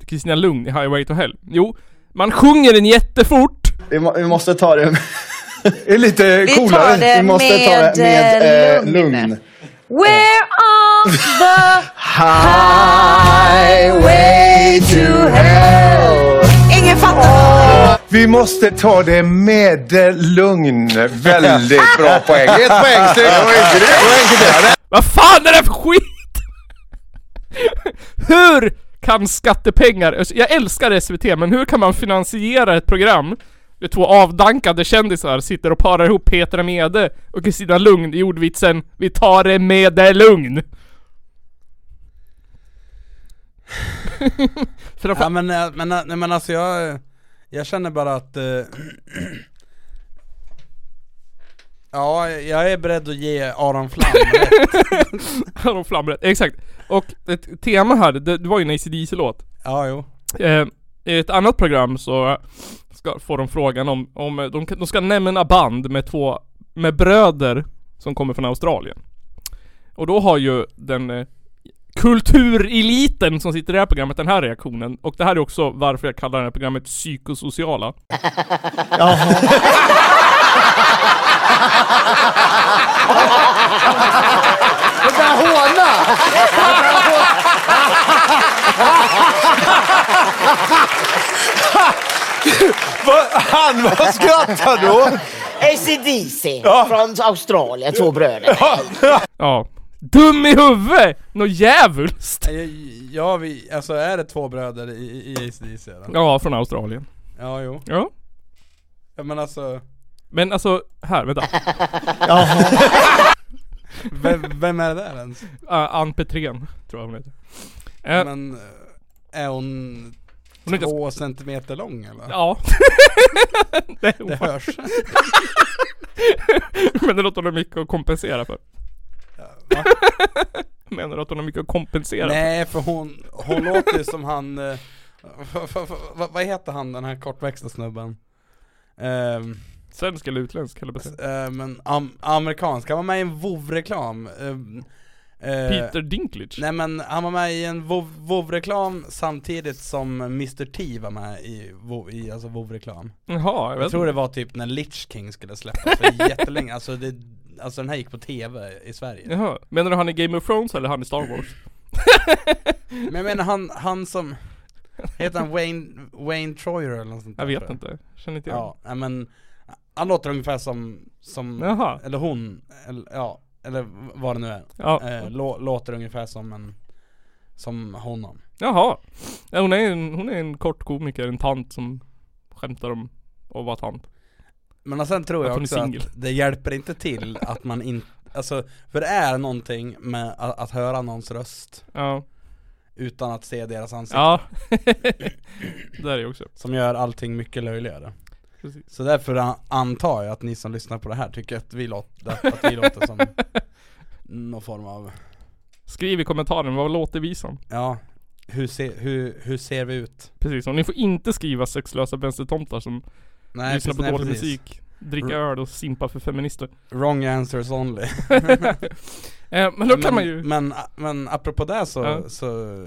Speaker 1: Kristina Lugn i Highway to Hell? Jo, man sjunger den jättefort.
Speaker 11: Vi, må, vi måste ta det med...
Speaker 10: Det är lite
Speaker 12: Vi tar
Speaker 10: coolare.
Speaker 12: det
Speaker 11: vi måste ta det med
Speaker 12: med,
Speaker 11: eh, lugn.
Speaker 12: We're on the
Speaker 11: Highway to hell.
Speaker 12: Ingen fattar.
Speaker 10: Vi måste ta det med eh, lugn. Väldigt bra poäng. Ett poäng till. Det var inte det. Det var enkelt det.
Speaker 1: Vad fan är det för skit? <laughs> hur kan skattepengar, alltså, jag älskar SVT, men hur kan man finansiera ett program där två avdankade kändisar sitter och parar ihop Petra Mede och Kristina Lugn i ordvitsen Vi tar det med det lugn. Framför-
Speaker 2: Ja, men, eh, men, eh, nej, men alltså jag, eh, jag känner bara att eh, <clears throat> Ja, jag är beredd att ge Aron Flam rätt.
Speaker 1: <laughs> Ja, de flamrar. Exakt. Och ett tema här, det, det var ju en AC/DC-låt.
Speaker 2: Ja, jo.
Speaker 1: Eh, I ett annat program så ska, får de frågan om, om eh, de, kan- de ska nämna band med två, med bröder som kommer från Australien. Och då har ju den eh, kultureliten som sitter i det här programmet den här reaktionen. Och det här är också varför jag kallar det här programmet psykosociala.
Speaker 10: Vad- Han, vad skrattar då?
Speaker 13: ACDC från Australien, två bröder.
Speaker 1: Ja. Dum i huvudet! Nå djävulskt!
Speaker 2: Jag, jag, Eh, vi, alltså är det två bröder i, i i ACDC då?
Speaker 1: Ja, från Australien.
Speaker 2: Ja, jo.
Speaker 1: Ja.
Speaker 2: Ja, men alltså,
Speaker 1: Men alltså, här, vänta.
Speaker 2: vem, vem är det där ens?
Speaker 1: Uh, Ann Petrén, tror jag hon heter. Eh,
Speaker 2: Men eh, är hon
Speaker 1: Hon är
Speaker 2: två centimeter lång eller? <laughs>
Speaker 1: Ja. Nej,
Speaker 2: Det
Speaker 1: hon- <laughs>
Speaker 2: hörs.
Speaker 1: Men det låter hon mycket att kompensera för. <laughs>
Speaker 2: Va?
Speaker 1: Menar du att hon har mycket att kompensera? Nej.
Speaker 2: Nej, för hon, hon låter ju som han, eh, vad- vad- vad- vad heter han den här kortväxta snubben? Ehm,
Speaker 1: Svensk eller utländsk eller bestämt.
Speaker 2: eh, men am, amerikansk, han var med i en vovreklam reklam
Speaker 1: Peter Dinklage?
Speaker 2: Nej men han var med i en Vov- vovreklam samtidigt som Mr T var med i, Vov- i alltså vovreklam
Speaker 1: Jaha, jag vet
Speaker 2: Jag tror det var typ när Lich King skulle
Speaker 1: <laughs>
Speaker 2: släppas för jättelänge, alltså, det, alltså den här gick på tv i Sverige
Speaker 1: Jaha. Menar du han i Game of Thrones eller han i Star Wars?
Speaker 2: Men jag menar han, han som, heter han Wayne, Wayne Troyer eller något sånt där,
Speaker 1: Jag
Speaker 2: tror
Speaker 1: vet inte. Känner inte igen.
Speaker 2: Ja, nej, men han låter ungefär som, som
Speaker 1: Jaha.
Speaker 2: eller hon, eller, ja, eller vad det nu är
Speaker 1: Ja.
Speaker 2: eh, lå, Låter ungefär som en, som honom
Speaker 1: Jaha. Ja, hon, är en, hon är en kort komiker, en tant som skämtar om att vara tant.
Speaker 2: Men alltså, sen tror
Speaker 1: Att
Speaker 2: jag
Speaker 1: hon är
Speaker 2: också
Speaker 1: singel.
Speaker 2: att det hjälper inte till att man inte, alltså för det är någonting med att, att höra någons röst
Speaker 1: Ja.
Speaker 2: utan att se deras ansikte <laughs>
Speaker 1: Ja. Där är jag också.
Speaker 2: som gör allting mycket löjligare
Speaker 1: Precis.
Speaker 2: Så därför an- antar jag att ni som lyssnar på det här tycker att vi låter, att vi
Speaker 1: <laughs>
Speaker 2: låter som någon form av,
Speaker 1: Skriv i kommentaren, vad låter vi som?
Speaker 2: ja, hur, se, hur, hur ser vi ut?
Speaker 1: Precis, och ni får inte skriva sexlösa vänstertomtar som
Speaker 2: Nej,
Speaker 1: lyssnar
Speaker 2: precis-
Speaker 1: på
Speaker 2: nej,
Speaker 1: dålig
Speaker 2: precis. Mm.
Speaker 1: musik, dricka
Speaker 2: R-
Speaker 1: öl och simpa för feminister.
Speaker 2: Wrong answers only
Speaker 1: eh, men <laughs> då kan man ju...
Speaker 2: men, men apropå det så,
Speaker 1: Ja.
Speaker 2: så,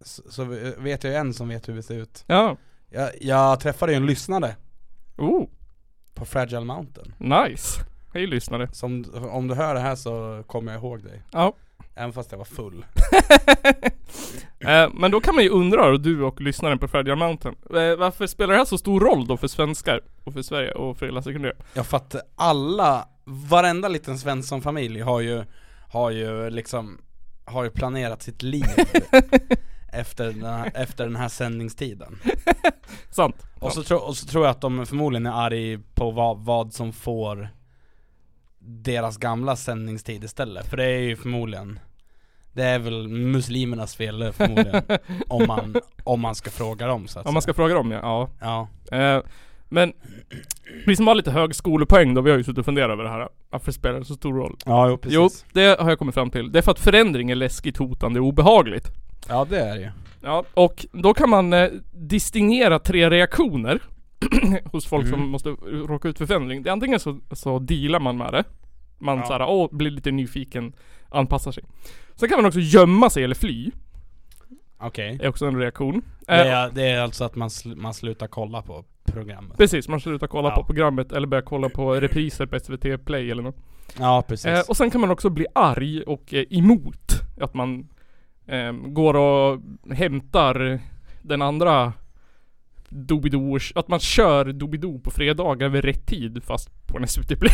Speaker 2: så, så vet jag ju en som vet hur vi ser ut
Speaker 1: Ja.
Speaker 2: Jag, jag träffade ju en lyssnare
Speaker 1: Oh,
Speaker 2: på Fragile Mountain
Speaker 1: nice. Hej lyssnare.
Speaker 2: Som, om du hör det här så kommer jag ihåg dig.
Speaker 1: Ja.
Speaker 2: Även fast jag var full.
Speaker 1: Eh, men då kan man ju undra, du och lyssnaren på Fragile Mountain, eh, varför spelar det här så stor roll då för svenskar och för Sverige och för hela sekundär?
Speaker 2: Jag fattar alla, varenda liten Svensson-familj har ju, har ju liksom, har ju planerat
Speaker 1: <laughs>
Speaker 2: sitt liv efter, den här, efter den här sändningstiden.
Speaker 1: Sant.
Speaker 2: Och så, tro, och så tror jag att de förmodligen är arg på vad, vad som får deras gamla sändningstid istället, för det är ju förmodligen det är väl muslimernas fel förmodligen, om
Speaker 1: <laughs>
Speaker 2: man, om man ska fråga dem så att
Speaker 1: Om man
Speaker 2: säga.
Speaker 1: ska fråga dem ja.
Speaker 2: Ja.
Speaker 1: Eh, men vi som har lite högskolepoäng då, vi har ju suttit och funderat över det här. Varför spelar det så stor roll?
Speaker 2: Ja, jo, precis.
Speaker 1: Jo, det har jag kommit fram till. Det är för att förändring är läskigt, hotande och obehagligt.
Speaker 2: Ja det är det ju.
Speaker 1: Ja, och då kan man eh, distingera tre reaktioner <clears throat> hos folk som
Speaker 2: Mm.
Speaker 1: måste råka ut för förändring. Det är antingen så, så dealar man med det. Man
Speaker 2: Ja.
Speaker 1: såhär, åh, blir lite nyfiken, anpassar sig. Sen kan man också gömma sig eller fly.
Speaker 2: Okej.
Speaker 1: Det är också en reaktion.
Speaker 2: Det är, det är alltså att man, sl- man slutar kolla på programmet.
Speaker 1: Precis, man slutar kolla
Speaker 2: Ja.
Speaker 1: på programmet eller börjar kolla på repriser på SVT Play eller något.
Speaker 2: Ja, precis.
Speaker 1: Eh, och sen kan man också bli arg och eh, emot. Att man eh, går och hämtar den andra Doobidoo, och k- att man kör Doobidoo på fredagar vid rätt tid fast på en SVT Play.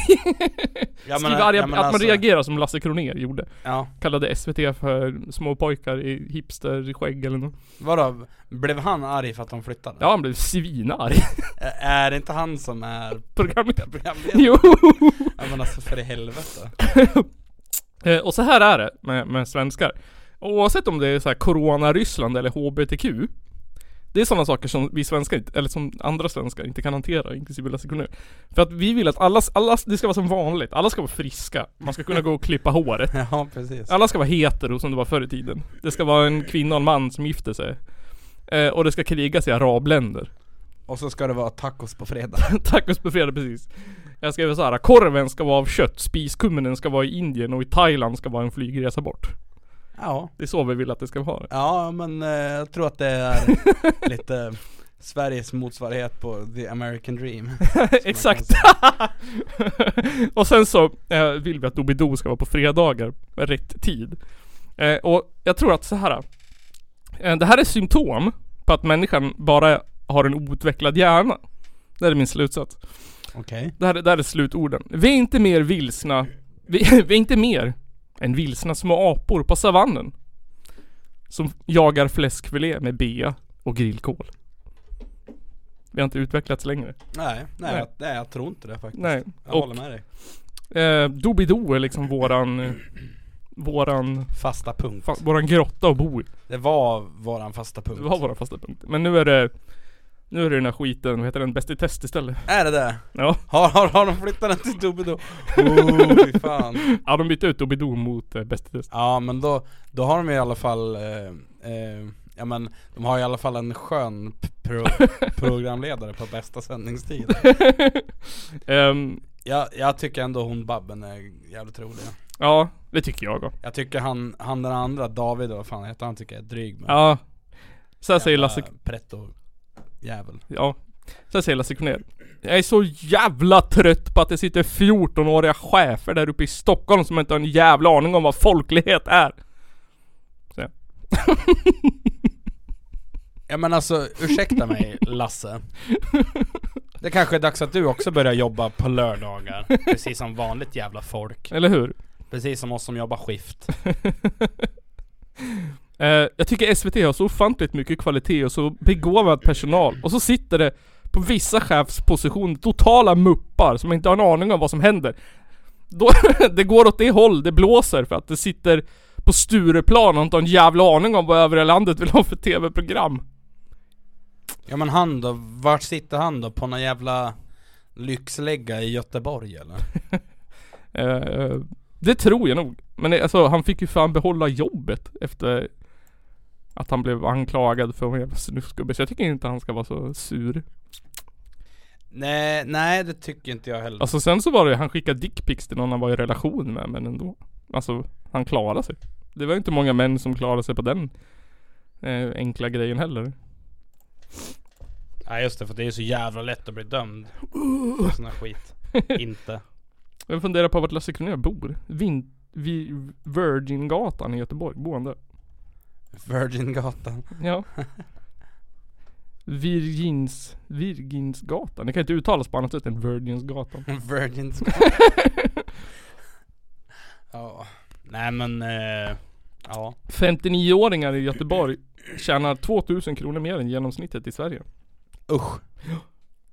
Speaker 2: Ja, men-
Speaker 1: Skriva arga,
Speaker 2: ja, men
Speaker 1: att
Speaker 2: alltså-
Speaker 1: man reagerar som Lasse Kronér gjorde.
Speaker 2: Ja.
Speaker 1: Kallade SVT för småpojkar i hipsterskägg eller något.
Speaker 2: Vadå, blev han arg för att de flyttade?
Speaker 1: Ja han blev svinarg. <laughs>
Speaker 2: Ä- Är det inte han som är
Speaker 1: Programledare.
Speaker 2: programledare?
Speaker 1: jo!
Speaker 2: Ja men alltså för
Speaker 1: <laughs>
Speaker 2: i helvete.
Speaker 1: Eh, och så här är det med, med svenskar. Oavsett om det är så här Corona-Ryssland eller HBTQ. Det är sådana saker som vi svenskar inte, eller som andra svenskar inte kan hantera, inklusive Lasse Kronér. För att vi vill att alla, alla, det ska vara som vanligt. Alla ska vara friska. Man ska kunna gå och klippa håret.
Speaker 2: Ja precis.
Speaker 1: Alla ska vara hetero som det var förr i tiden. Det ska vara en kvinna och en man som gifter sig. Eh, och det ska krigas i arabländer. <laughs>
Speaker 2: Och så ska det vara tacos på fredag.
Speaker 1: Tacos på fredag precis. Jag skrev så här. korven ska vara av kött, spiskummen ska vara i Indien och i Thailand ska vara en flygresa bort.
Speaker 2: Ja.
Speaker 1: Det är så vi vill att det ska vara.
Speaker 2: Ja men eh, jag tror att det är
Speaker 1: <laughs>
Speaker 2: lite Sveriges motsvarighet på the
Speaker 1: <laughs>
Speaker 2: American dream.
Speaker 1: Exakt. <laughs> och sen så eh, vill vi att Doobidoo ska vara på fredagar med rätt tid. Eh, och jag tror att så här. Eh, det här är symptom på att människan bara har en outvecklad hjärna. Det är min slutsats.
Speaker 2: Okej.
Speaker 1: Det här, det här är slutorden. Vi är inte mer vilsna, vi, <laughs> vi är inte mer än vilsna små apor på savannen. Som jagar fläskfilé med bea och grillkål. Vi har inte utvecklats längre.
Speaker 2: Nej, nej,
Speaker 1: Nej.
Speaker 2: Jag, nej jag tror inte det faktiskt.
Speaker 1: Nej.
Speaker 2: Jag
Speaker 1: Och-
Speaker 2: håller med dig.
Speaker 1: Eh, Doobidoo är liksom våran, eh, våran
Speaker 2: Fasta punkt.
Speaker 1: fa- våran grotta att bo i.
Speaker 2: Det var våran fasta punkt.
Speaker 1: Det var våran fasta punkt. Men nu är det, nu är det den här skiten, vad heter den, Bäst i test istället.
Speaker 2: Är det det?
Speaker 1: Ja.
Speaker 2: Har, har, har de flyttat den till Doobidoo? Oh, fy fan.
Speaker 1: Ja de bytte ut Doobidoo mot eh, Bäst i
Speaker 2: <laughs>
Speaker 1: test.
Speaker 2: Ja men då, då har de ju i alla fall, eh, eh, ja men de har i alla fall en skön p-
Speaker 1: <laughs>
Speaker 2: pro- programledare på bästa sändningstid.
Speaker 1: Ehm,
Speaker 2: jag, jag tycker ändå hon Babben är jävligt rolig.
Speaker 1: ja, det tycker jag då.
Speaker 2: Jag tycker han, han den andra, David eller vad fan heter han, tycker jag är dryg men eh,
Speaker 1: Ja. Så här säger Lasse,
Speaker 2: pretto jävel.
Speaker 1: ja. Så här säger Lasse Kronér. Jag är så jävla trött på att det sitter 14-åriga chefer där uppe i Stockholm som inte har en jävla aning om vad folklighet är. Så. ja.
Speaker 2: Ja men alltså ursäkta mig Lasse. Det kanske är dags att du också börjar jobba på lördagar. Precis som vanligt jävla folk.
Speaker 1: Eller hur?
Speaker 2: Precis som oss som jobbar skift.
Speaker 1: Eh, jag tycker SVT har så ofantligt mycket kvalitet och så begåvad personal. Och så sitter det på vissa chefspositioner totala muppar som inte har en aning om vad som händer. Då, <laughs> det går åt det håll det blåser för att det sitter på Stureplan och inte har en jävla aning om vad övriga landet vill ha för tv-program.
Speaker 2: Ja men han då, vart sitter han då? På någon jävla lyxlägga i Göteborg eller?
Speaker 1: Eh, det tror jag nog. Men det, alltså, han fick ju fan behålla jobbet efter att han blev anklagad för en jävla snuskgubbe. Så jag tycker inte han ska vara så sur.
Speaker 2: Nej, nej det tycker inte jag heller.
Speaker 1: Alltså sen så var det han skickade dickpics till någon han var i relation med men ändå. Alltså han klarade sig. Det var ju inte många män som klarade sig på den eh, enkla grejen heller.
Speaker 2: Nej just det, för det är ju så jävla lätt att bli dömd. Sån här skit. inte.
Speaker 1: Jag funderar på vart Lasse Kronér bor. Vin, vi, Virgingatan i Göteborg. Bor han där?
Speaker 2: Virgingatan.
Speaker 1: Ja. <laughs> Virgins, Virginsgatan. Det kan inte uttalas på annat sätt än Virginsgatan.
Speaker 2: Virginsgatan. Ja. Nej men, eh, ja.
Speaker 1: 59-åringar i Göteborg tjänar 2000 kronor mer än genomsnittet i Sverige.
Speaker 2: Usch.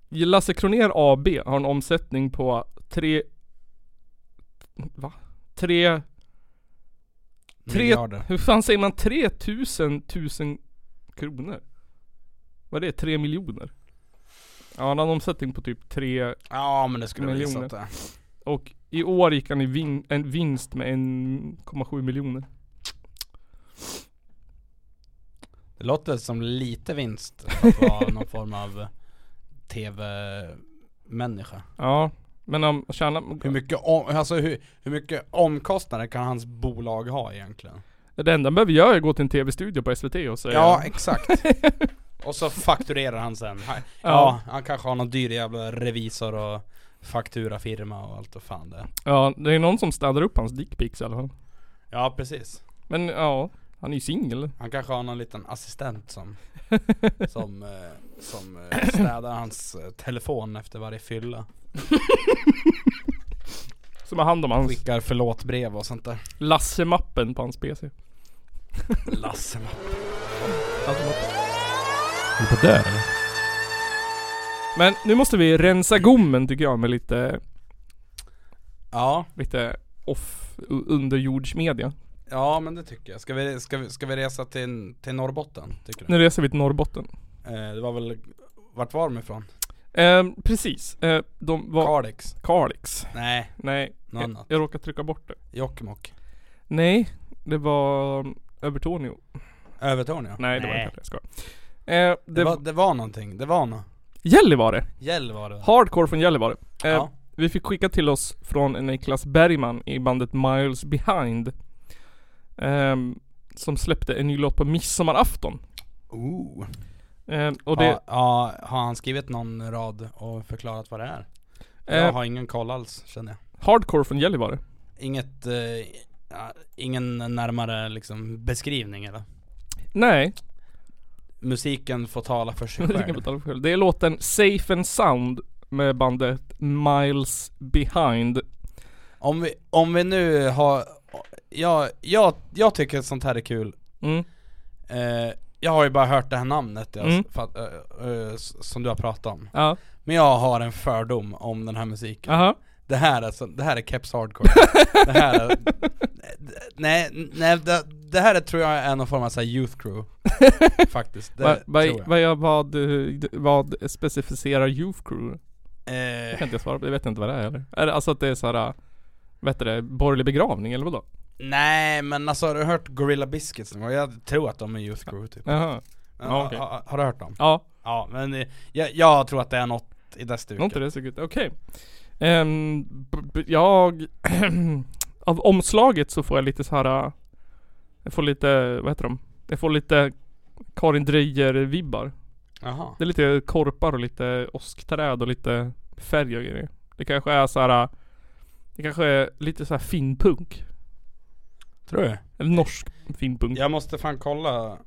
Speaker 1: Lasse Kronér AB har en omsättning på tre... Va? Tre... Tre...
Speaker 2: Miljarder.
Speaker 1: Hur fan säger man 3000 tusen kronor? Vad är det? Tre miljoner? Ja han har en omsättning på typ tre
Speaker 2: Ja men det skulle jag gissat det.
Speaker 1: Och i år gick han i vin, en vinst med 1,7 miljoner.
Speaker 2: Det låter som lite vinst <laughs> att vara någon form av tv-människa.
Speaker 1: Ja, men om tjänar...
Speaker 2: Hur mycket, om, alltså hur, hur mycket omkostnader kan hans bolag ha egentligen?
Speaker 1: Det enda han behöver göra är att gå till en tv-studio på SVT och säga
Speaker 2: Ja, exakt. och så fakturerar han sen. Ja,
Speaker 1: Ja.
Speaker 2: han kanske har någon dyr jävla revisor och fakturafirma och allt och fan det
Speaker 1: Ja, det är någon som städar upp hans dickpics i alla fall.
Speaker 2: Ja, precis.
Speaker 1: Men ja, han är ju singel.
Speaker 2: Han kanske har någon liten assistent <laughs> som Som, eh, som eh, städar hans eh, telefon efter varje fylla
Speaker 1: Som har hand om hans...
Speaker 2: Skickar förlåtbrev och sånt där
Speaker 1: Lasse-mappen på hans PC.
Speaker 2: Lasse
Speaker 8: Är det på där eller?
Speaker 1: Men nu måste vi rensa gommen tycker jag med lite...
Speaker 2: Ja
Speaker 1: Lite off, u- underjordsmedia.
Speaker 2: Ja men det tycker jag. Ska vi, ska vi, ska vi resa till, till Norrbotten? Tycker du?
Speaker 1: Nu reser vi till Norrbotten.
Speaker 2: Eh, det var väl, vart var de ifrån?
Speaker 1: Ehm, precis. Eh, de var...
Speaker 2: Kalix.
Speaker 1: Kalix.
Speaker 2: Nej.
Speaker 1: Nej.
Speaker 2: Något
Speaker 1: Jag,
Speaker 2: annat.
Speaker 1: jag råkade trycka bort det.
Speaker 2: Jokkmokk.
Speaker 1: Nej, det var mm, Övertorneå.
Speaker 2: Övertorneå?
Speaker 1: Nej, det var
Speaker 2: Nej.
Speaker 1: inte. Jag skojar. Eh,
Speaker 2: Det, var, det var någonting, det var något.
Speaker 1: Gällivare.
Speaker 2: Gällivare.
Speaker 1: Hardcore från Gällivare. Eh,
Speaker 2: Ja.
Speaker 1: Vi fick skicka till oss från Niklas Bergman i bandet Miles Behind. Ehm, som släppte en ny låt på midsommarafton.
Speaker 2: Ooh.
Speaker 1: Ehm, och det,
Speaker 2: ja, ja, har han skrivit någon rad och förklarat vad det är? Jag
Speaker 1: Eh.
Speaker 2: har ingen koll alls känner jag.
Speaker 1: Hardcore från Gällivare.
Speaker 2: Inget, eh, ja, ingen närmare liksom beskrivning eller?
Speaker 1: Nej,
Speaker 2: Musiken får tala
Speaker 1: <laughs>
Speaker 2: för sig
Speaker 1: musiken
Speaker 2: själv.
Speaker 1: betalar för själv. Det är låten Safe and Sound med bandet Miles Behind.
Speaker 2: Om vi, om vi nu har, jag, jag, jag tycker att sånt här är kul
Speaker 1: Mm.
Speaker 2: eh, Jag har ju bara hört det här namnet jag,
Speaker 1: Mm.
Speaker 2: fatt- eh, eh, s- som du har pratat om
Speaker 1: Ja.
Speaker 2: Men jag har en fördom om den här musiken
Speaker 1: Aha.
Speaker 2: Det här är, så, det här är keps hardcore Det
Speaker 1: <laughs>
Speaker 2: här är, nej, nej det, det här är, tror jag är någon form av så här
Speaker 1: <laughs>
Speaker 2: youth crew Faktiskt, det
Speaker 1: Vad vad-
Speaker 2: tror jag
Speaker 1: vad jag- vad, eh, vad specificerar Youth Crew?
Speaker 2: Eh.
Speaker 1: Det kan inte jag svara på, jag vet inte vad det är eller? Är det alltså att det är såhär, vad heter det, borgerlig begravning eller vadå?
Speaker 2: Nej men alltså har du hört Gorilla Biscuits någon gång? Jag tror att de är youth crew typ
Speaker 1: Jaha.
Speaker 2: Men,
Speaker 1: Ja,
Speaker 2: ha-
Speaker 1: okej.
Speaker 2: ha- Har du hört dem?
Speaker 1: Ja.
Speaker 2: Ja men eh, jag, jag tror att det är något i det stuket
Speaker 1: Något i det stuket, okej. Ehm, b- b- jag, <clears throat> av omslaget så får jag lite så här. äh, jag får lite, vad heter de? Jag får lite Karin Dreyer-vibbar.
Speaker 2: Jaha.
Speaker 1: Det är lite korpar och lite åskträd och lite färg och grejer. Det kanske är så här. äh, det kanske är lite så här finpunk.
Speaker 2: Tror du?
Speaker 1: Eller norsk finpunk.
Speaker 2: Jag måste fan kolla eh,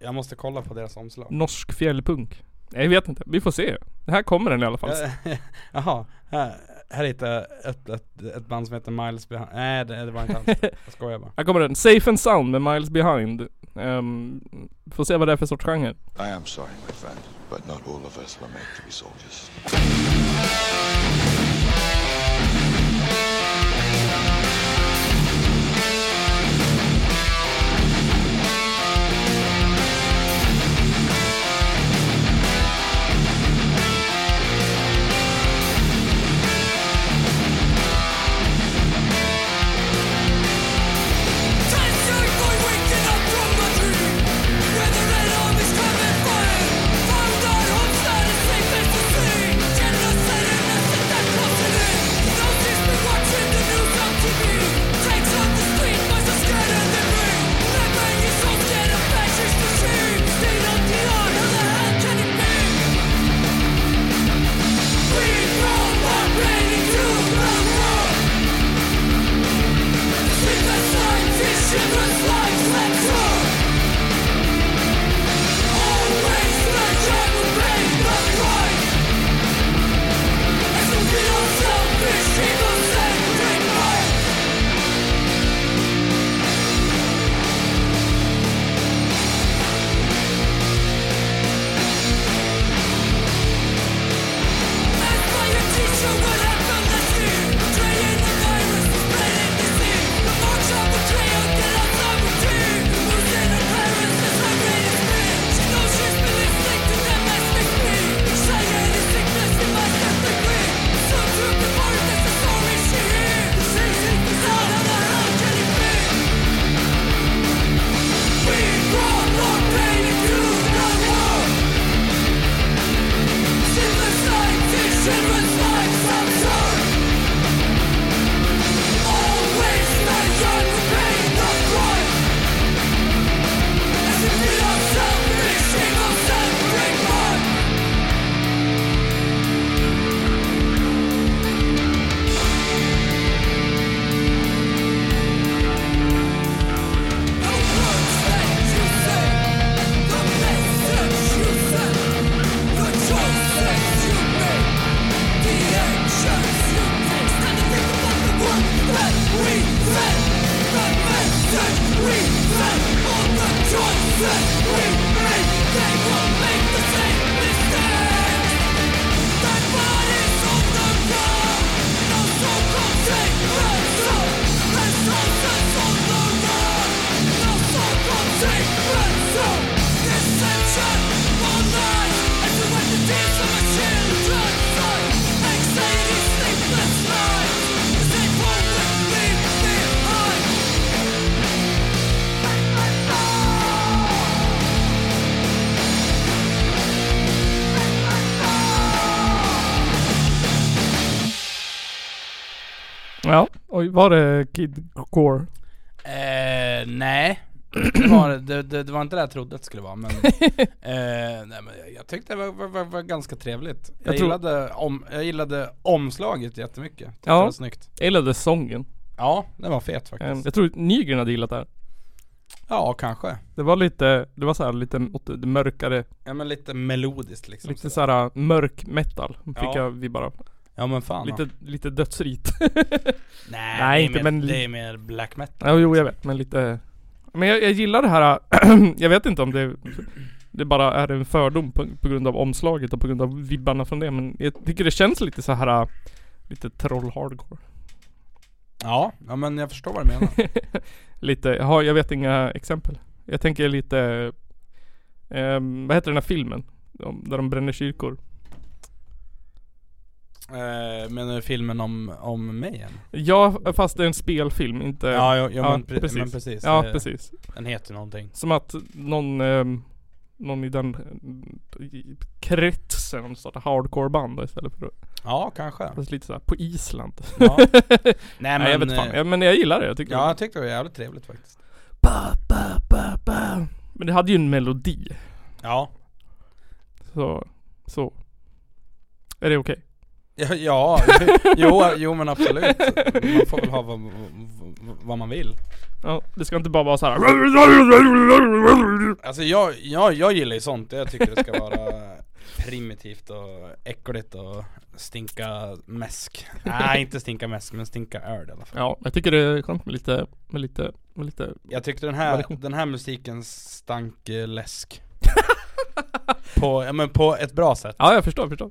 Speaker 2: Jag måste kolla på deras omslag
Speaker 1: Norsk fjällpunk. Nej, Jag vet inte, vi får se. Det här kommer den i alla fall.
Speaker 2: Eh, <laughs> Jaha, här, här hittade jag ett, ett, ett band som heter Miles Behind Nej det, det var inte alls det. Jag skojar bara
Speaker 1: Här kommer den. Safe and Sound med Miles Behind. Ehm, får se vad det är för sorts genre.
Speaker 14: <laughs> I am sorry, my friend, but not all of us were made to be soldiers.
Speaker 11: Where the red army's coming for From the home side, it's safe to see Genocide in the
Speaker 1: Ja, oj var det Kid Gore?
Speaker 2: <laughs> Eh, nej. Det var, det, det, det var inte det jag trodde att det skulle
Speaker 1: <laughs>
Speaker 2: vara men, eh, nej, men jag tyckte det var, var, var, var ganska trevligt. Jag,
Speaker 1: Jag tror-
Speaker 2: gillade om, jag gillade omslaget jättemycket. Tyckte det var
Speaker 1: Ja,
Speaker 2: snyggt.
Speaker 1: jag gillade sången.
Speaker 2: Ja, den var fet faktiskt.
Speaker 1: Eh, Jag tror Nygren hade gillat det här.
Speaker 2: Ja, kanske.
Speaker 1: Det var lite, det var så här lite åt det mörkare,
Speaker 2: Ja men lite melodiskt liksom.
Speaker 1: lite så här äh, mörk metal. Fick
Speaker 2: Ja.
Speaker 1: jag vi bara.
Speaker 2: Ja, men fan,
Speaker 1: Lite, lite dödsrit.
Speaker 2: Nej,
Speaker 1: Nej,
Speaker 2: det är
Speaker 1: inte,
Speaker 2: mer,
Speaker 1: men li-
Speaker 2: Det är mer black metal.
Speaker 1: <laughs> Ja, jo jag vet, men lite Men jag, jag gillar det här, äh, <clears throat> jag vet inte om det Det bara är en fördom på, på grund av omslaget och på grund av vibbarna från det men jag tycker det känns lite så här äh, Lite troll-hardcore
Speaker 2: Ja, ja men jag förstår vad
Speaker 1: <laughs>
Speaker 2: du menar.
Speaker 1: Lite, jag, har, jag vet inga exempel Jag tänker lite ehm, Vad heter den här filmen? Om- Där de bränner kyrkor
Speaker 2: eh, menar du filmen om, om mig
Speaker 1: Eh,
Speaker 2: än?
Speaker 1: Ja, fast det är en spelfilm, inte...
Speaker 2: Ja, ja, ja, men pre- men precis.
Speaker 1: Ja,
Speaker 2: Eh,
Speaker 1: precis.
Speaker 2: den heter någonting.
Speaker 1: Som att någon, ehm, någon i den eh, i kretsen startar hardcore-band då istället för att-
Speaker 2: Ja, kanske.
Speaker 1: Fast lite såhär på Island. <laughs>
Speaker 2: Ja. Nej,
Speaker 1: Nej,
Speaker 2: men,
Speaker 1: jag vet fan.
Speaker 2: eh,
Speaker 1: Ja, men jag gillar det. Jag tycker
Speaker 2: Ja,
Speaker 1: det.
Speaker 2: jag tyckte det var jävligt trevligt faktiskt.
Speaker 1: Men det hade ju en melodi.
Speaker 2: Ja. <laughs>
Speaker 1: Så, så. Är det okej? <laughs>
Speaker 2: Ja, ja jo, jo men absolut. Man får väl ha vad, vad, vad man vill.
Speaker 1: Ja, det ska inte bara vara så här.
Speaker 2: Alltså jag, jag, jag gillar ju sånt. Jag tycker det ska vara <laughs> primitivt och äckligt och stinka mäsk. Nej, inte stinka mäsk men stinka öl i alla fall.
Speaker 1: Ja, jag tycker det är skönt med lite, med lite, med lite
Speaker 2: Jag tyckte den här, den här musiken stank eh, läsk. på, ja, men på ett bra sätt.
Speaker 1: Ja, jag förstår, jag förstår.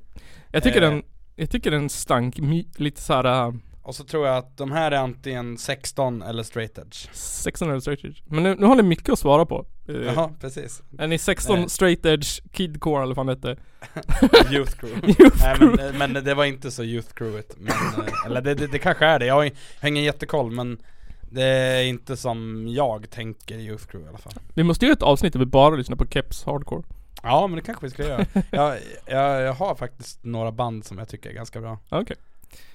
Speaker 1: Jag tycker
Speaker 2: Eh.
Speaker 1: den, jag tycker den stank my, lite så här. äh,
Speaker 2: Och så tror jag att de här är antingen 16 eller straight edge.
Speaker 1: 16 eller straight edge. Men nu, nu har ni mycket att svara på. Eh,
Speaker 2: Jaha, precis.
Speaker 1: Är ni 16
Speaker 2: Eh.
Speaker 1: straight edge, kidcore eller vad fan hette?
Speaker 2: <laughs> Youth crew.
Speaker 1: Youth
Speaker 2: Nej,
Speaker 1: crew.
Speaker 2: Men, men det var inte så youth crewet. Men, eh, eller det, det, det kanske är det, jag har ing- jag har ingen jättekoll men det är inte som jag tänker youth crew i alla fall.
Speaker 1: Vi måste ju göra ett avsnitt där vi bara lyssnar på Keps hardcore.
Speaker 2: Ja men det kanske vi ska
Speaker 1: <laughs>
Speaker 2: göra. Jag, jag, jag har faktiskt några band som jag tycker är ganska bra.
Speaker 1: Ah, Okej.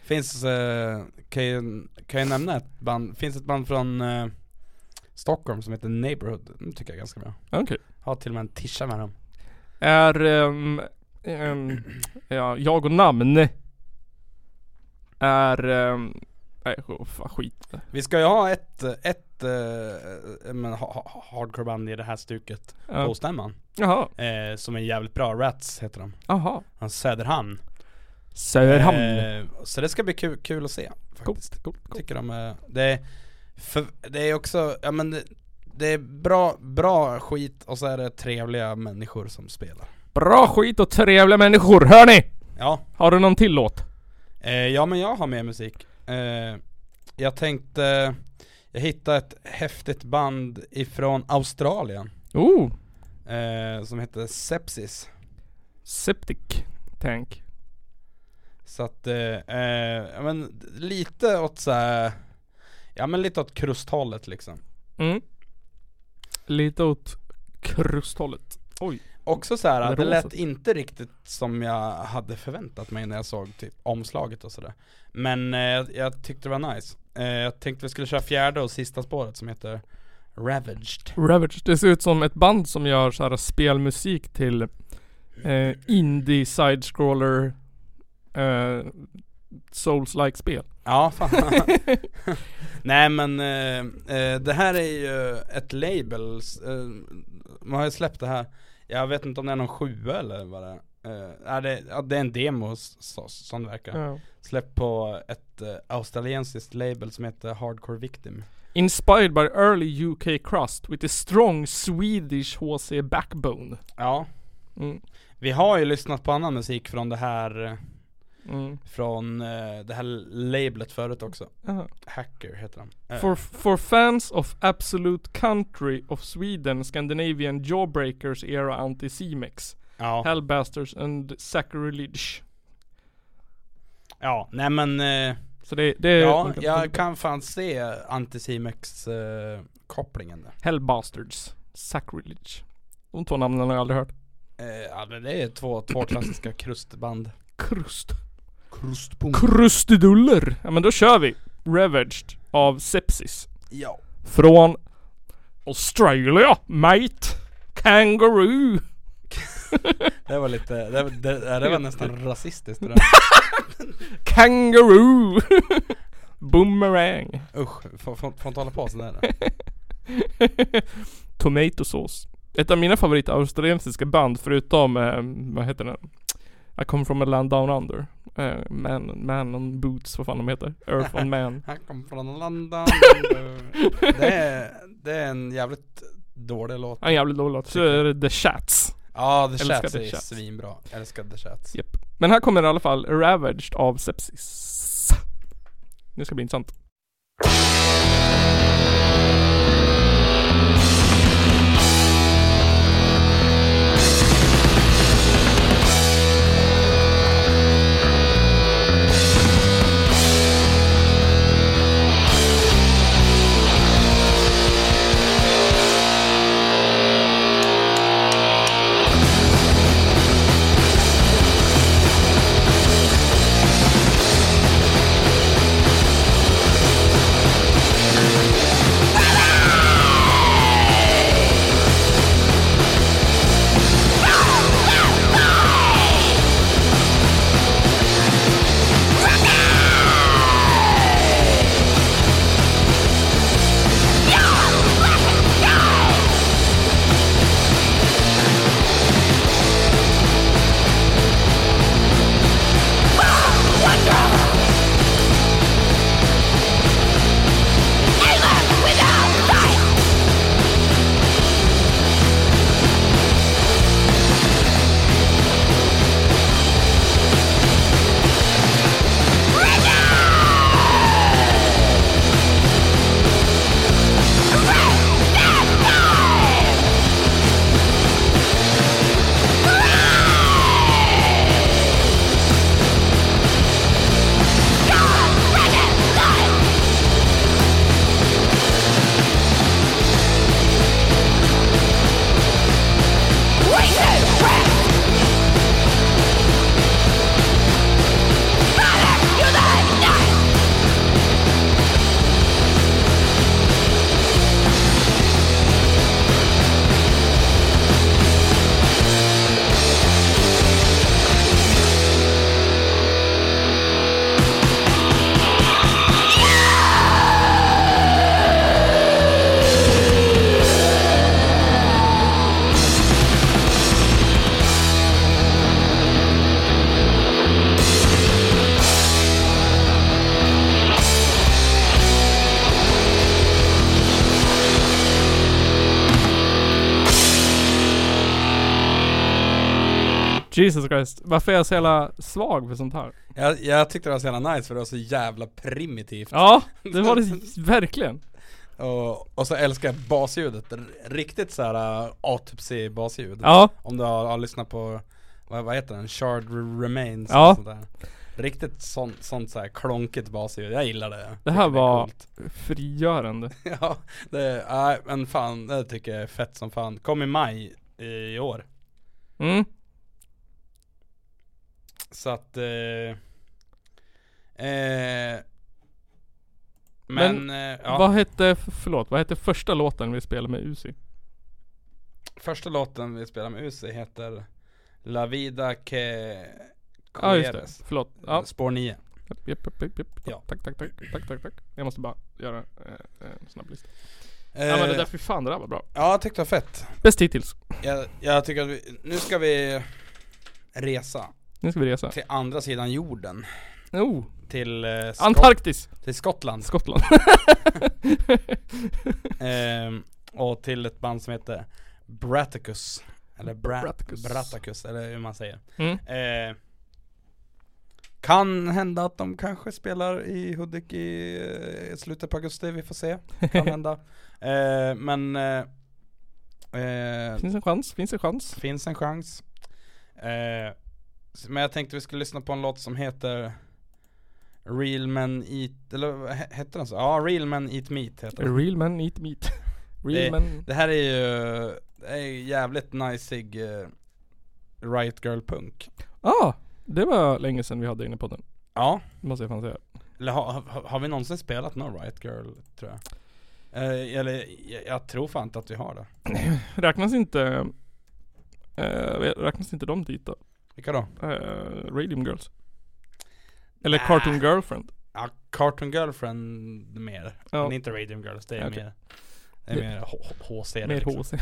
Speaker 2: Finns, eh, kan, jag, kan jag nämna ett band? Finns ett band från eh, Stockholm som heter Neighborhood. De tycker jag är ganska bra.
Speaker 1: Ah, Okej.
Speaker 2: Har till och med en tisha med dem.
Speaker 1: Är, ehm, ehm, ja, jag och namn. Är, ehm, nej sk- fan, skit.
Speaker 2: Vi ska ju ha ett, ett eh, men, ha, ha, hardcore band i det här stuket
Speaker 1: Ja.
Speaker 2: på stämman.
Speaker 1: Jaha.
Speaker 2: Eh, som är jävligt bra, Rats heter de.
Speaker 1: Jaha.
Speaker 2: Han Söderhamn.
Speaker 1: Söderhamn.
Speaker 2: Eh, så det ska bli kul, kul att se faktiskt. Tycker de är, det, är för, det är också, ja men det, det är bra, bra skit och så är det trevliga människor som spelar.
Speaker 1: Bra skit och trevliga människor, hör ni?
Speaker 2: Ja.
Speaker 1: Har du någon till låt?
Speaker 2: Eh, ja men jag har med musik. Eh, jag tänkte, jag hittade ett häftigt band ifrån Australien.
Speaker 1: Oh,
Speaker 2: Eh, som heter Sepsis.
Speaker 1: Septic Tank.
Speaker 2: Så att, eh, eh, ja, men lite åt så här, ja men lite åt krusthållet liksom.
Speaker 1: Mm. Lite åt krusthållet. Oj.
Speaker 2: Också så här,
Speaker 1: Med
Speaker 2: det lät
Speaker 1: rosa.
Speaker 2: inte riktigt som jag hade förväntat mig när jag såg typ omslaget och sådär. Men eh, jag- jag tyckte det var nice. Eh, jag tänkte vi skulle köra fjärde och sista spåret som heter Ravaged.
Speaker 1: Ravage. Det ser ut som ett band som gör så här spelmusik till eh, indie side-scroller eh, Souls-like spel. <laughs>
Speaker 2: Ja, fan. <laughs> Nej men eh, eh, det här är ju ett label, s- eh, man har ju släppt det här, jag vet inte om det är någon sjua eller vad det är. Eh, nej, det, ja, det är en demo s- så, som det verkar.
Speaker 1: Ja.
Speaker 2: Släppt på ett eh, australiensiskt label som heter Hardcore Victim.
Speaker 1: Inspired by early UK crust with a strong Swedish HC backbone.
Speaker 2: Ja. Vi har ju lyssnat på annan musik från det här eh,
Speaker 1: Mm.
Speaker 2: Från eh, det här lablet förut också
Speaker 1: Aha.
Speaker 2: Hacker heter de Eh,
Speaker 1: For, for fans of absolute country of Sweden, Scandinavian jawbreakers era anti-Cimex.
Speaker 2: Ja.
Speaker 1: Hellbasters and sacrilege.
Speaker 2: Ja, nej men eh,
Speaker 1: Så det, det är...
Speaker 2: Ja, jag kan fan se Anticimex eh, kopplingen där
Speaker 1: Hellbastards. Sacrilege. De två namnen har jag aldrig hört.
Speaker 2: eh, ja, men Det är två, två klassiska krustband
Speaker 1: Krust
Speaker 2: Krustpunk
Speaker 1: Krustiduller! Ja men då kör vi! Ravaged av sepsis.
Speaker 2: Ja.
Speaker 1: Från Australia, mate! Kangaroo!
Speaker 2: Det var lite, det, det, det, det var <laughs> nästan rasistiskt det där.
Speaker 1: Kangaroo! <laughs> Boomerang!
Speaker 2: Usch, får får- får inte hålla på sådär.
Speaker 1: <laughs> Tomatosås. Ett av mina favoritaustraliensiska band förutom, eh, vad heter den? I come from a land down under. Eh, man, man on boots, vad fan de heter. Earth on <laughs> man.
Speaker 2: Han kom från <laughs> London. det, är, det är en jävligt dålig låt.
Speaker 1: En jävligt dålig låt. Så är det The Chats.
Speaker 2: Ja, The
Speaker 1: Älskar
Speaker 2: Chats
Speaker 1: The
Speaker 2: är
Speaker 1: Chats.
Speaker 2: svinbra. Älskar The Chats.
Speaker 1: Japp. Men här kommer i alla fall Ravaged av sepsis. Det ska bli intressant. Jesus Christ. Varför är jag så jävla svag för sånt här?
Speaker 2: Jag, jag tyckte det var så jävla nice för det var så jävla primitivt.
Speaker 1: Ja, <laughs> det var det verkligen.
Speaker 2: Och, och så älskar jag basljudet, R- riktigt såhär äh, autopsy basljud
Speaker 1: Ja.
Speaker 2: Om du har, har lyssnat på, vad, vad heter den? Shard Remains
Speaker 1: Ja.
Speaker 2: och sånt där. Riktigt sånt, sånt såhär klonkigt basljud, jag gillar det
Speaker 1: Det här var frigörande.
Speaker 2: <laughs> Ja, det, är- äh, men fan det tycker jag är fett som fan Kom i maj i, i år
Speaker 1: Mm.
Speaker 2: Så att eh, eh,
Speaker 1: Men,
Speaker 2: Men, eh, ja.
Speaker 1: vad hette, förlåt, vad hette första låten vi spelade med Uzi?
Speaker 2: Första låten vi spelar med Uzi heter La Vida Que
Speaker 1: Ja just det,
Speaker 2: Quieres.
Speaker 1: förlåt. Ja.
Speaker 2: Spår 9
Speaker 1: Japp, japp, japp, japp, japp.
Speaker 2: Ja.
Speaker 1: Tack, tack, tack, tack, tack, tack. Jag måste bara göra eh, en snabb lista.
Speaker 2: Eh,
Speaker 1: ja men det där, fy fan det där var bra.
Speaker 2: Ja jag tyckte det var fett
Speaker 1: Bäst hittills.
Speaker 2: jag, jag tycker att vi, nu ska vi resa
Speaker 1: Nu ska vi resa.
Speaker 2: Till andra sidan jorden
Speaker 1: Oh.
Speaker 2: Till eh, Skot-
Speaker 1: Antarktis.
Speaker 2: Till Skottland
Speaker 1: Skottland. <laughs>
Speaker 2: Ehm, Och till ett band som heter Braticus Eller Bra-
Speaker 1: Braticus.
Speaker 2: Braticus. eller hur man säger
Speaker 1: Mm.
Speaker 2: Eh, Kan hända att de kanske spelar i Hudik i eh, slutet på augusti, vi får se Kan hända eh, Men eh, eh,
Speaker 1: Finns en chans, finns en chans.
Speaker 2: Finns en chans. Eh, s- men jag tänkte vi skulle lyssna på en låt som heter Real Men Eat, eller vad he- hette den så? Ja, Real Men Eat Meat heter den.
Speaker 1: Real men eat meat. <laughs> Real
Speaker 2: det,
Speaker 1: men.
Speaker 2: det här är ju, det är ju jävligt najsig eh, Riot Girl Punk.
Speaker 1: Ah, det var länge sedan vi hade inne på den.
Speaker 2: Ja.
Speaker 1: Måste jag fan säga.
Speaker 2: Eller har, har, har vi någonsin spelat någon Riot Girl, tror jag? Eh, eller jag, jag tror fan inte att vi har det.
Speaker 1: Räknas inte... Eh, räknas inte de dit då?
Speaker 2: Vilka då?
Speaker 1: Eh, Radium Girls. Eller Cartoon Girlfriend.
Speaker 2: Ja, Cartoon Girlfriend mer.
Speaker 1: Ja.
Speaker 2: Men inte Radium Girls, det är
Speaker 1: Okej.
Speaker 2: mer det är
Speaker 1: Det-
Speaker 2: mer H- H- HC.
Speaker 1: Mer
Speaker 2: liksom.
Speaker 1: HC.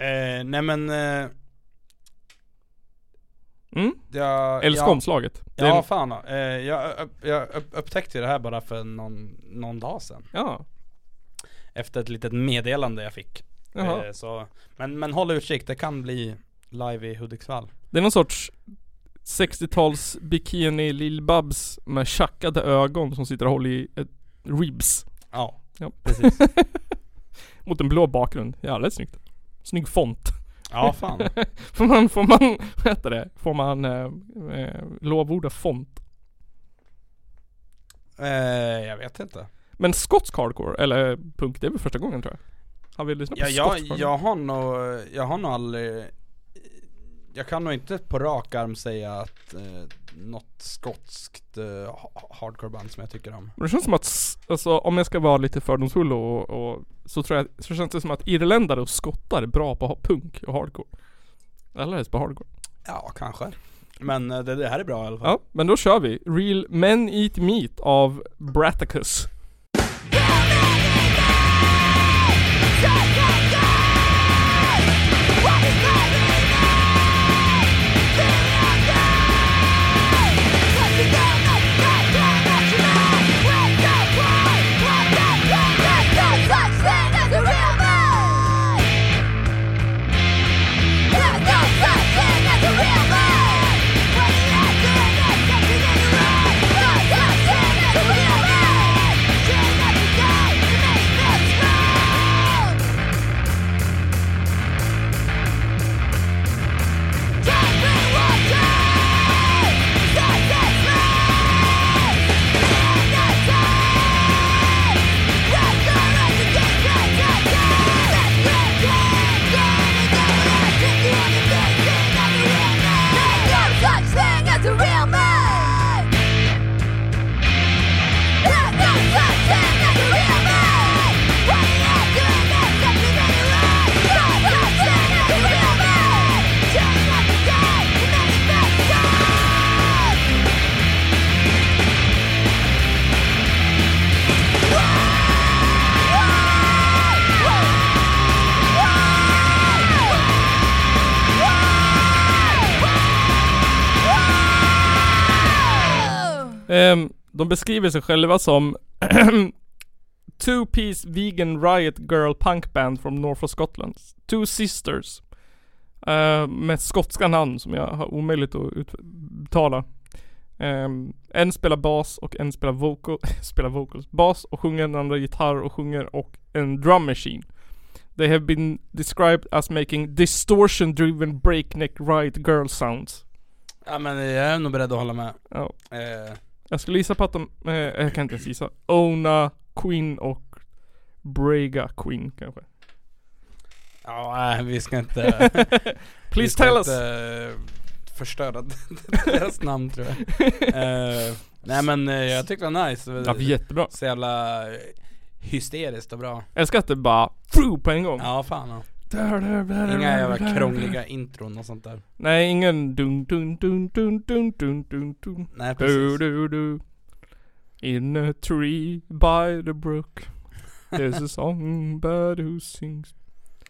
Speaker 2: eh, nej men... Eh,
Speaker 1: Mm?
Speaker 2: jag,
Speaker 1: Älskar
Speaker 2: jag-
Speaker 1: omslaget. Det är
Speaker 2: Ja
Speaker 1: en-
Speaker 2: fan. Eh, jag, upp, jag upp, upptäckte det här bara för någon, någon dag sedan.
Speaker 1: Ja.
Speaker 2: Efter ett litet meddelande jag fick.
Speaker 1: Jaha.
Speaker 2: Eh, så, men, men håll utkik, det kan bli live i Hudiksvall.
Speaker 1: Det är någon sorts 60-tals bikini lillbabs med tjackade ögon som sitter och håller i ett ribs.
Speaker 2: Ja,
Speaker 1: <laughs> precis. Mot en blå bakgrund. Jävligt snyggt. Snygg font. <laughs>
Speaker 2: Ja, fan.
Speaker 1: får man, får man, vad heter det? Får man eh, eh, lovorda font?
Speaker 2: Eh, jag vet inte.
Speaker 1: Men skotsk hardcore, eller punk, det är väl första gången tror jag? Har vi lyssnat på
Speaker 2: Ja, jag,
Speaker 1: skotsk hardcore?
Speaker 2: jag har nog, jag har nog aldrig Jag kan nog inte på rak arm säga att eh, något skotskt eh, ha- hardcoreband som jag tycker om
Speaker 1: Men det känns som att, s- alltså om jag ska vara lite fördomsfull och, och så tror jag, så känns det som att irländare och skottar är bra på ha- punk och hardcore. Eller helst på hardcore.
Speaker 2: Ja, kanske Men eh, det, det här är bra i alla fall
Speaker 1: Ja, men då kör vi. Real Men Eat Meat av Brattacus. Ehm, de beskriver sig själva som <clears throat> Two piece vegan riot girl punk band from North of Scotland. Two sisters. Ehm, med skotska namn som jag har omöjligt att uttala. Ehm, en spelar bas och en spelar, vocal, <laughs> spelar vocals. Bas och sjunger, den andra gitarr och sjunger och en drum machine. They have been described as making distortion driven breakneck riot girl sounds.
Speaker 2: Ja men jag är nog beredd att hålla med
Speaker 1: Ja.
Speaker 2: eh,
Speaker 1: Jag skulle gissa på att de, eh, jag kan inte ens gissa. Ona Queen och Brega Queen
Speaker 2: <laughs>
Speaker 1: kanske.
Speaker 2: Ja, nej, vi
Speaker 1: <laughs>
Speaker 2: ska inte vi
Speaker 1: Please
Speaker 2: ska
Speaker 1: tell us.
Speaker 2: inte förstöra <laughs> deras
Speaker 1: <laughs>
Speaker 2: namn tror jag eh, Nej men eh, jag tyckte det var nice
Speaker 1: Ja, jättebra.
Speaker 2: Så jävla eh, hysteriskt och bra
Speaker 1: Jag älskar att det bara, fru på en gång.
Speaker 2: Ja fan ja.
Speaker 1: Där, där, där, där,
Speaker 2: Inga jävla
Speaker 1: där,
Speaker 2: krångliga intron och sånt där
Speaker 1: Nej, ingen dun dun dun dun dun dun dun dun.
Speaker 2: Nej,
Speaker 1: Du, du, du. In a tree by the brook. There's a songbird who sings.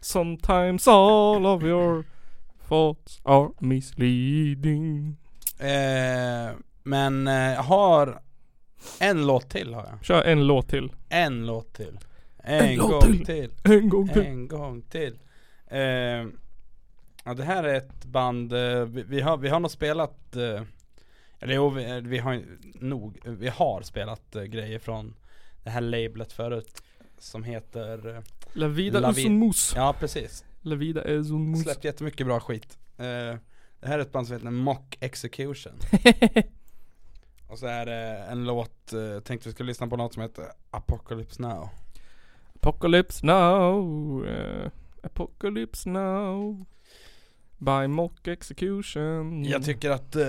Speaker 1: Sometimes all of your thoughts are misleading.
Speaker 2: eh, Men eh, jag har en låt till har jag
Speaker 1: Kör en låt till.
Speaker 2: En låt till En,
Speaker 1: En låt
Speaker 2: gång till.
Speaker 1: till. En gång <laughs> till.
Speaker 2: En gång till eh, Ja det här är ett band, eh, vi, vi har, vi har nog spelat eh, Eller jo, vi, eh, vi har ju- nog, vi har spelat eh, grejer från det här lablet förut Som heter eh,
Speaker 1: La vida
Speaker 2: La
Speaker 1: es
Speaker 2: Vi-
Speaker 1: un mus.
Speaker 2: Ja precis
Speaker 1: La vida es un mus.
Speaker 2: Släppt jättemycket bra skit. Eh, det här är ett band som heter Mock Execution. Och så är det en låt, eh, jag tänkte vi skulle lyssna på något som heter Apocalypse Now.
Speaker 1: Apocalypse now. eh, apocalypse now. By mock execution.
Speaker 2: Jag tycker att eh,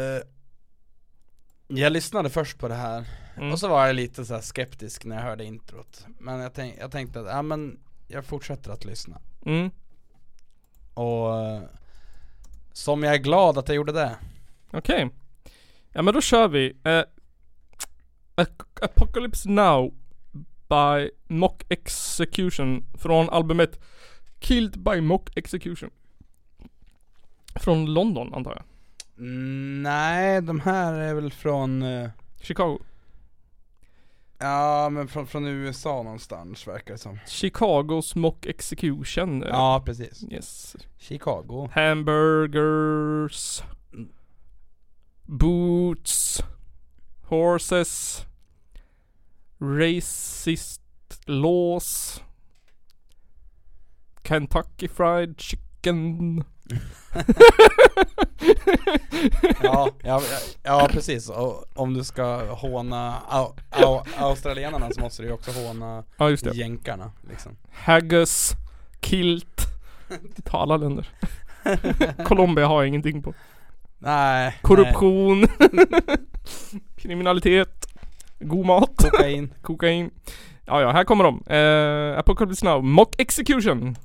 Speaker 2: jag lyssnade först på det här Och så var jag lite så här skeptisk när jag hörde introt. Men jag, tänk, jag tänkte att, ja men jag fortsätter att lyssna.
Speaker 1: Mm.
Speaker 2: Och eh, som jag är glad att jag gjorde det.
Speaker 1: Okej. Ja men då kör vi. Eh, Ac- Apocalypse Now by Mock Execution från albumet Killed by Mock Execution. Från London antar jag.
Speaker 2: Mm, nej, de här är väl från... eh,
Speaker 1: Chicago?
Speaker 2: Ja men från, från USA någonstans verkar det som.
Speaker 1: Chicagos Mock Execution. eh,
Speaker 2: Ja precis.
Speaker 1: Yes.
Speaker 2: Chicago.
Speaker 1: Hamburgers. Boots. Horses. Racist laws. Kentucky fried chicken.
Speaker 2: Ja, ja, ja, ja precis. Och om du ska håna au, au, australienarna så måste du ju också håna
Speaker 1: Ja, just det.
Speaker 2: jänkarna. Liksom.
Speaker 1: Haggis. Kilt. Ta alla länder. Colombia har jag ingenting på.
Speaker 2: Nej.
Speaker 1: Korruption. <laughs> Kriminalitet. God mat.
Speaker 2: <laughs> Kokain.
Speaker 1: Kokain. Ja, ja, här kommer de. Uh, Apocalypse Now. Mock Execution.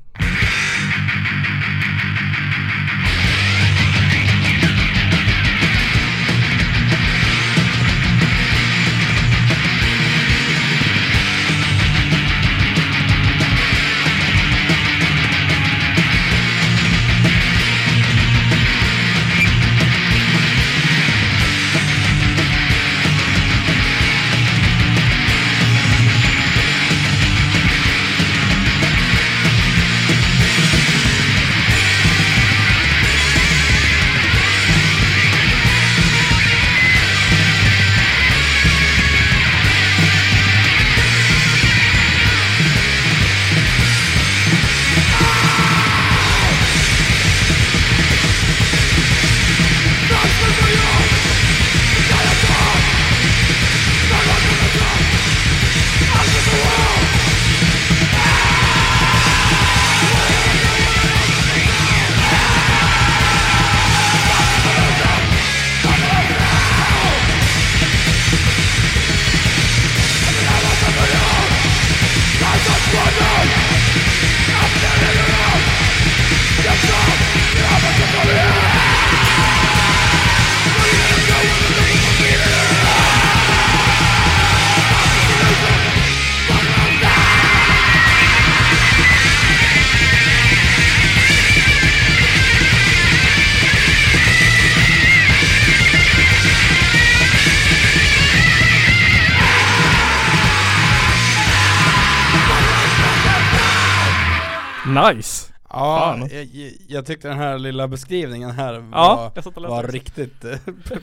Speaker 1: Nice!
Speaker 2: Ja,
Speaker 1: Fan.
Speaker 2: jag, jag- jag tyckte den här lilla beskrivningen här
Speaker 1: Ja,
Speaker 2: var,
Speaker 1: jag satt och läste
Speaker 2: var
Speaker 1: också.
Speaker 2: riktigt eh,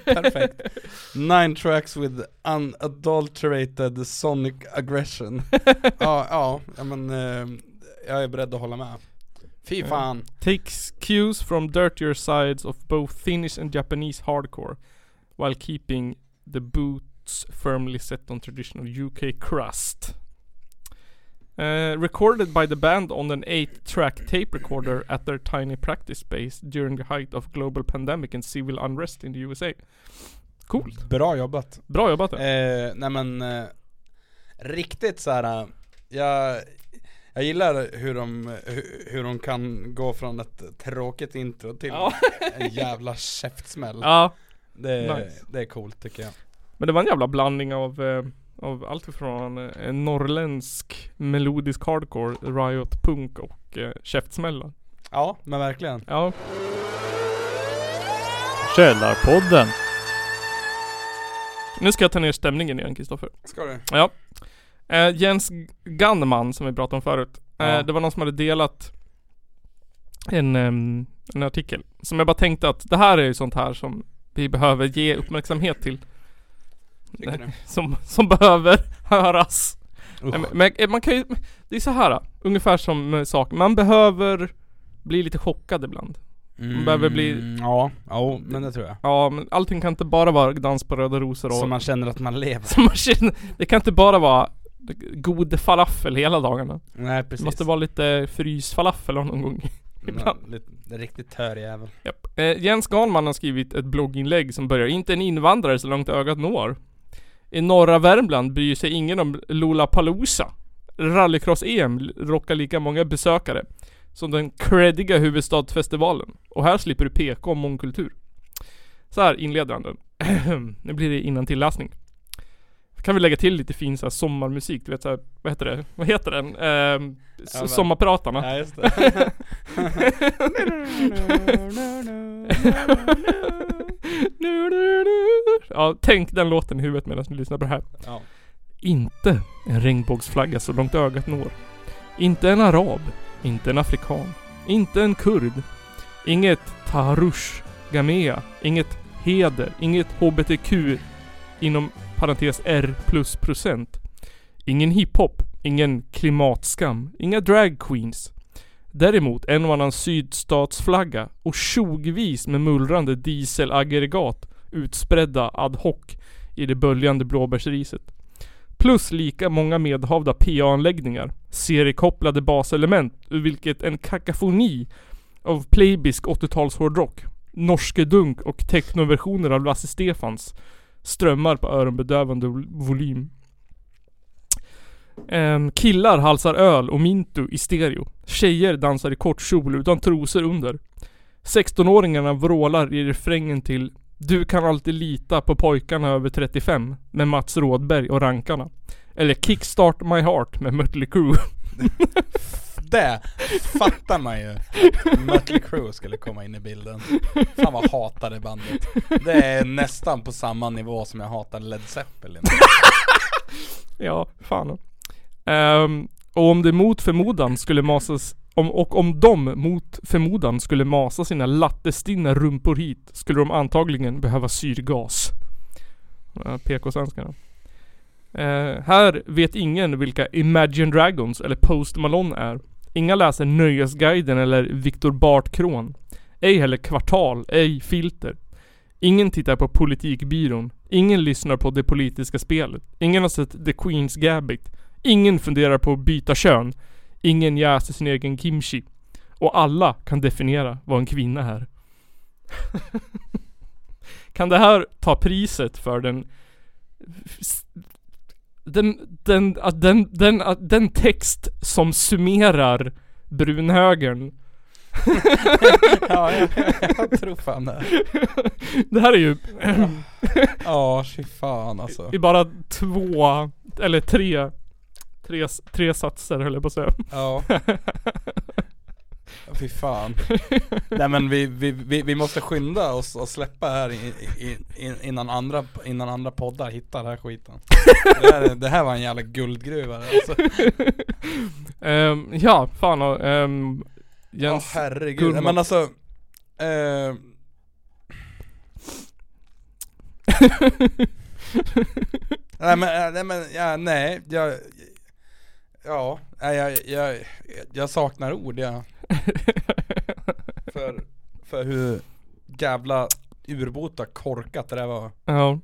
Speaker 2: <laughs> perfekt. Nine tracks with unadulterated sonic
Speaker 1: <laughs>
Speaker 2: aggression. ja, ja, ja, men eh, jag är beredd att hålla med. Fy fan.
Speaker 1: Takes cues from dirtier sides of both Finnish and Japanese hardcore while keeping the boots firmly set on traditional UK crust. Uh, recorded by the band on an 8-track tape recorder at their tiny practice space during the height of global pandemic and civil unrest in the USA. Coolt.
Speaker 2: Bra jobbat.
Speaker 1: Bra jobbat.
Speaker 2: Eh, nej men, eh, riktigt så här. eh, jag, jag gillar hur de, hur, hur de kan gå från ett tråkigt intro till
Speaker 1: Ja.
Speaker 2: en jävla käftsmäll.
Speaker 1: Ja.
Speaker 2: Det,
Speaker 1: Nice.
Speaker 2: det är coolt tycker jag.
Speaker 1: Men det var en jävla blandning av, eh, av allt ifrån eh, en norrländsk melodisk hardcore, riot punk och eh, käftsmällar.
Speaker 2: Ja, men verkligen.
Speaker 1: Ja.
Speaker 8: Källarpodden.
Speaker 1: Nu ska jag ta ner stämningen igen Kristoffer.
Speaker 2: Ska du?
Speaker 1: Ja. Eh, Jens Gunman som vi pratade om förut. Eh,
Speaker 2: Ja.
Speaker 1: Det var någon som hade delat en, ehm, en artikel. Som jag bara tänkte att det här är ju sånt här som vi behöver ge uppmärksamhet till. Eh,
Speaker 2: Tycker du?
Speaker 1: Som, som behöver <laughs> höras.
Speaker 2: <laughs> Usch.
Speaker 1: Nej, men- Men eh, man kan ju, det är så här, ungefär som eh, saker. Man behöver bli lite chockad ibland. Man behöver bli
Speaker 2: Mm, Ja, ja men det tror jag.
Speaker 1: Ja men allting kan inte bara vara dans på röda rosor och... <laughs>
Speaker 2: Så man känner att man lever.
Speaker 1: Så man känner, det kan inte bara vara god falafel hela dagarna.
Speaker 2: Nej precis.
Speaker 1: Det måste vara lite frysfalafel någon gång.
Speaker 2: Men,
Speaker 1: ibland.
Speaker 2: lite- det är riktigt törjävel.
Speaker 1: Japp. Eh, Jens Garnman har skrivit ett blogginlägg som börjar Inte en invandrare så långt ögat når. I norra Värmland bryr sig ingen om Lollapalooza. Rallycross-EM rockar lika många besökare som den creddiga huvudstadsfestivalen. Och här slipper du PK om mångkultur. Så här inleder han den. <clears throat> nu blir det innantilläsning. Kan vi lägga till lite fin så här sommarmusik, du vet så här, vad heter det? Vad heter den? Ehm, s-
Speaker 2: Ja, men-
Speaker 1: sommarpratarna.
Speaker 2: Ja, <laughs> just det.
Speaker 1: <laughs> ja, tänk den låten i huvudet medan ni lyssnar på det här.
Speaker 2: Ja.
Speaker 1: Inte en regnbågsflagga så långt ögat når. Inte en arab. Inte en afrikan. Inte en kurd. Inget Taharush Gamea. Inget heder. Inget HBTQ inom parentes R plus procent. Ingen hiphop. Ingen klimatskam. Inga drag queens. Däremot en och annan sydstatsflagga och tjogvis med mullrande dieselaggregat utspridda ad hoc i det böljande blåbärsriset. Plus lika många medhavda PA-anläggningar, seriekopplade baselement, ur vilket en kakafoni av playbisk 80-tals hårdrock, norske dunk och technoversioner av Lasse Stefans strömmar på öronbedövande vol- volym. Ehm, killar halsar öl och mintu i stereo. Tjejer dansar i kort kjol utan trosor under. 16-åringarna vrålar i refrängen till Du kan alltid lita på pojkarna över 35 med Mats Rådberg och Rankarna. Eller Kickstart My Heart med Mötley Crüe. <laughs>
Speaker 2: Det fattar man ju. Mötley Crüe skulle komma in i bilden. Fan vad jag hatar det bandet. Det är nästan på samma nivå som jag hatar Led Zeppelin.
Speaker 1: Ja, fan. Ehm, och om det mot förmodan skulle masas om, och om de mot förmodan skulle masa sina lattestinna rumpor hit skulle de antagligen behöva syrgas. Eh, PK-svenskarna. Eh, här vet ingen vilka Imagine Dragons eller Post Malone är. Inga läser Nöjesguiden eller Viktor Bartkron. Ej heller Kvartal, ej Filter. Ingen tittar på Politikbyrån. Ingen lyssnar på det politiska spelet. Ingen har sett The Queen's Gambit. Ingen funderar på att byta kön. Ingen jäser sin egen kimchi. Och alla kan definiera vad en kvinna är. <laughs> kan det här ta priset för den den, den, att den, den, att den text som summerar brunhögern.
Speaker 2: <laughs> ja, jag, jag tror fan det.
Speaker 1: <laughs> Det här är ju
Speaker 2: Ja, fy fan alltså.
Speaker 1: i bara två, eller tre, tre, tre satser höll jag på att säga. <laughs>
Speaker 2: Ja. Fy fan. Nej men vi, vi, vi, vi måste skynda oss och släppa här i, i, i, innan, andra, innan andra poddar hittar den här skiten. Det här, det här var en jävla guldgruva alltså.
Speaker 1: Ehm, ja, fan och, um,
Speaker 2: Ja
Speaker 1: Jens
Speaker 2: herregud.
Speaker 1: Gullman.
Speaker 2: Men alltså. Eh, nej men, eh, nej men, ja, nej, jag, ja, nej, jag, jag, jag saknar ord jag. För, för hur jävla urbota korkat det där var.
Speaker 1: Ja.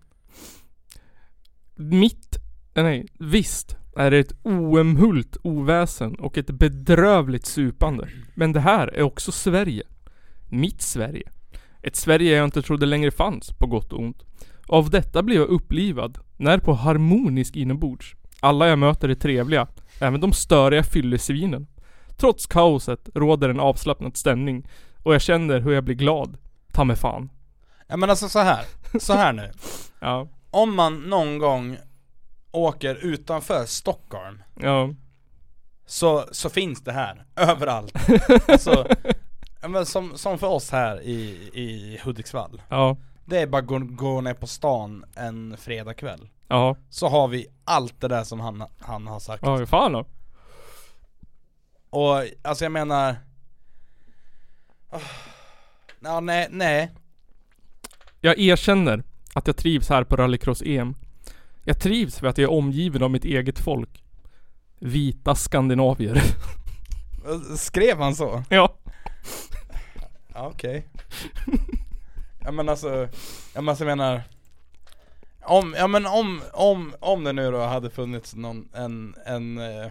Speaker 1: Mitt, eh, nej, visst är det ett oömhult oväsen och ett bedrövligt supande. Men det här är också Sverige. Mitt Sverige. Ett Sverige jag inte trodde längre fanns, på gott och ont. Av detta blev jag upplivad, när på harmonisk inombords. Alla jag möter är trevliga, även de störiga fyllesvinen. Trots kaoset råder en avslappnad stämning och jag känner hur jag blir glad. Ta mig fan.
Speaker 2: Ja men alltså så här, så här nu.
Speaker 1: Ja.
Speaker 2: Om man någon gång åker utanför Stockholm
Speaker 1: Ja.
Speaker 2: så, så finns det här <laughs> överallt. alltså, ja, men som, som för oss här i, i Hudiksvall.
Speaker 1: Ja.
Speaker 2: Det är bara att gå, gå ner på stan en fredagkväll.
Speaker 1: Ja.
Speaker 2: Så har vi allt det där som han, han har sagt.
Speaker 1: Ja, fan då.
Speaker 2: Och alltså jag menar... Ah. Ja, nej, nej.
Speaker 1: Jag erkänner att jag trivs här på rallycross-EM. Jag trivs för att jag är omgiven av mitt eget folk. Vita skandinavier. <laughs>
Speaker 2: Skrev han så?
Speaker 1: ja.
Speaker 2: Ja, okej. ja men alltså, ja, men alltså jag menar om, ja men om, om, om det nu då hade funnits någon, en, en, eh,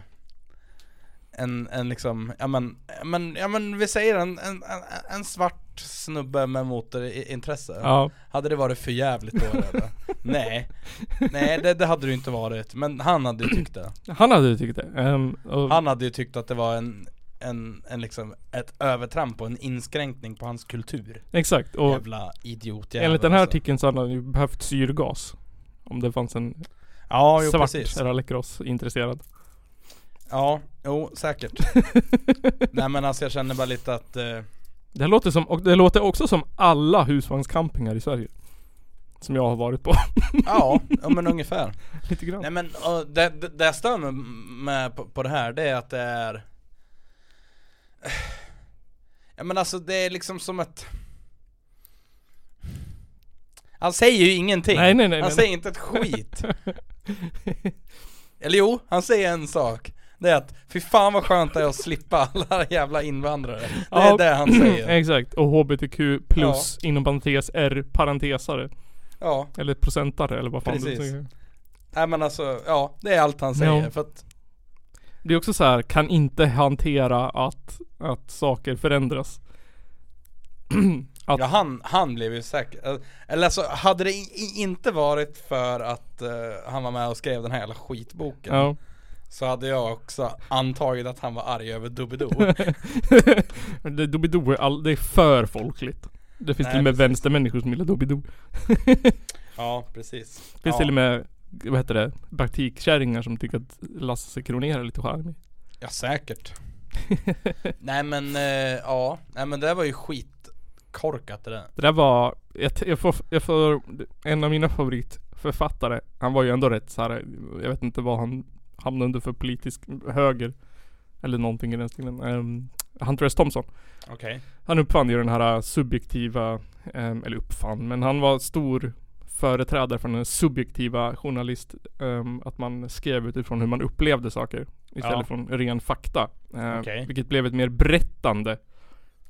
Speaker 2: en, en liksom, ja men, ja men, ja men vi säger en, en, en- en svart snubbe med motorintresse
Speaker 1: Ja.
Speaker 2: Hade det varit för jävligt då eller? Nej, nej det, det hade du inte varit. Men han hade ju tyckt det.
Speaker 1: Han hade ju tyckt det. Ehm, och,
Speaker 2: Han hade ju tyckt att det var en, en, en liksom ett övertramp och en inskränkning på hans kultur.
Speaker 1: Exakt. Och
Speaker 2: Jävla alltså. idiot
Speaker 1: Enligt den här artikeln så hade han ju behövt syrgas. Om det fanns en
Speaker 2: Ja, jo,
Speaker 1: svart
Speaker 2: precis.
Speaker 1: rallycross intresserad.
Speaker 2: Ja, jo
Speaker 1: <laughs>
Speaker 2: säkert. nej men alltså jag känner bara lite att eh,
Speaker 1: Det här låter som, och det låter också som alla husvagnscampingar i Sverige. Som jag har varit på. <laughs>
Speaker 2: Ja, ja men ungefär.
Speaker 1: Lite grann.
Speaker 2: Nej men och det, det, det jag stör mig med på, på det här det är att det är Ja men alltså det är liksom som ett Han säger ju ingenting.
Speaker 1: Nej, nej, nej,
Speaker 2: han
Speaker 1: nej,
Speaker 2: säger
Speaker 1: nej.
Speaker 2: inte ett
Speaker 1: <laughs>
Speaker 2: skit. Eller jo, han säger en sak. Det är att fy fan vad skönt det är att slippa alla jävla invandrare. Det är
Speaker 1: Ja,
Speaker 2: det han
Speaker 1: <clears throat>
Speaker 2: säger.
Speaker 1: Exakt. Och HBTQ plus inom parentes R parentesare.
Speaker 2: Ja.
Speaker 1: Eller procentare eller vad fan
Speaker 2: Precis.
Speaker 1: du säger.
Speaker 2: Nej men alltså, ja det är allt han säger.
Speaker 1: Ja.
Speaker 2: För att,
Speaker 1: Det är också så här, kan inte hantera att, att saker förändras.
Speaker 2: ja, han, han blev ju säker. Eller alltså hade det i- i- inte varit för att eh, han var med och skrev den här jävla skitboken.
Speaker 1: Ja.
Speaker 2: Så hade jag också antagit att han var arg över Doobidoo.
Speaker 1: <laughs> <laughs> det, Doobidoo är, all, det är för folkligt. Det finns
Speaker 2: Nej,
Speaker 1: till och med
Speaker 2: precis.
Speaker 1: vänstermänniskor som gillar Doobidoo. <laughs>
Speaker 2: ja precis.
Speaker 1: Det finns
Speaker 2: ja.
Speaker 1: till och med, vad heter det, praktikkärringar som tycker att Lasse Kronér är lite charmig. <laughs>
Speaker 2: Ja säkert. Nej men eh, ja, nej men det var ju skitkorkat det där.
Speaker 1: Det där var, jag, t- jag, får, jag får, en av mina favoritförfattare, han var ju ändå rätt så här. jag vet inte vad han hamnade under för politisk höger. Eller någonting i den stilen. Um, Hunter S. Thompson.
Speaker 2: Okej.
Speaker 1: Han uppfann ju den här äh, subjektiva, ehm, eller uppfann, men han var stor företrädare för den subjektiva journalist, ehm, att man skrev utifrån hur man upplevde saker. Istället
Speaker 2: Ja.
Speaker 1: från ren fakta. Eh,
Speaker 2: Okej.
Speaker 1: Vilket blev ett mer berättande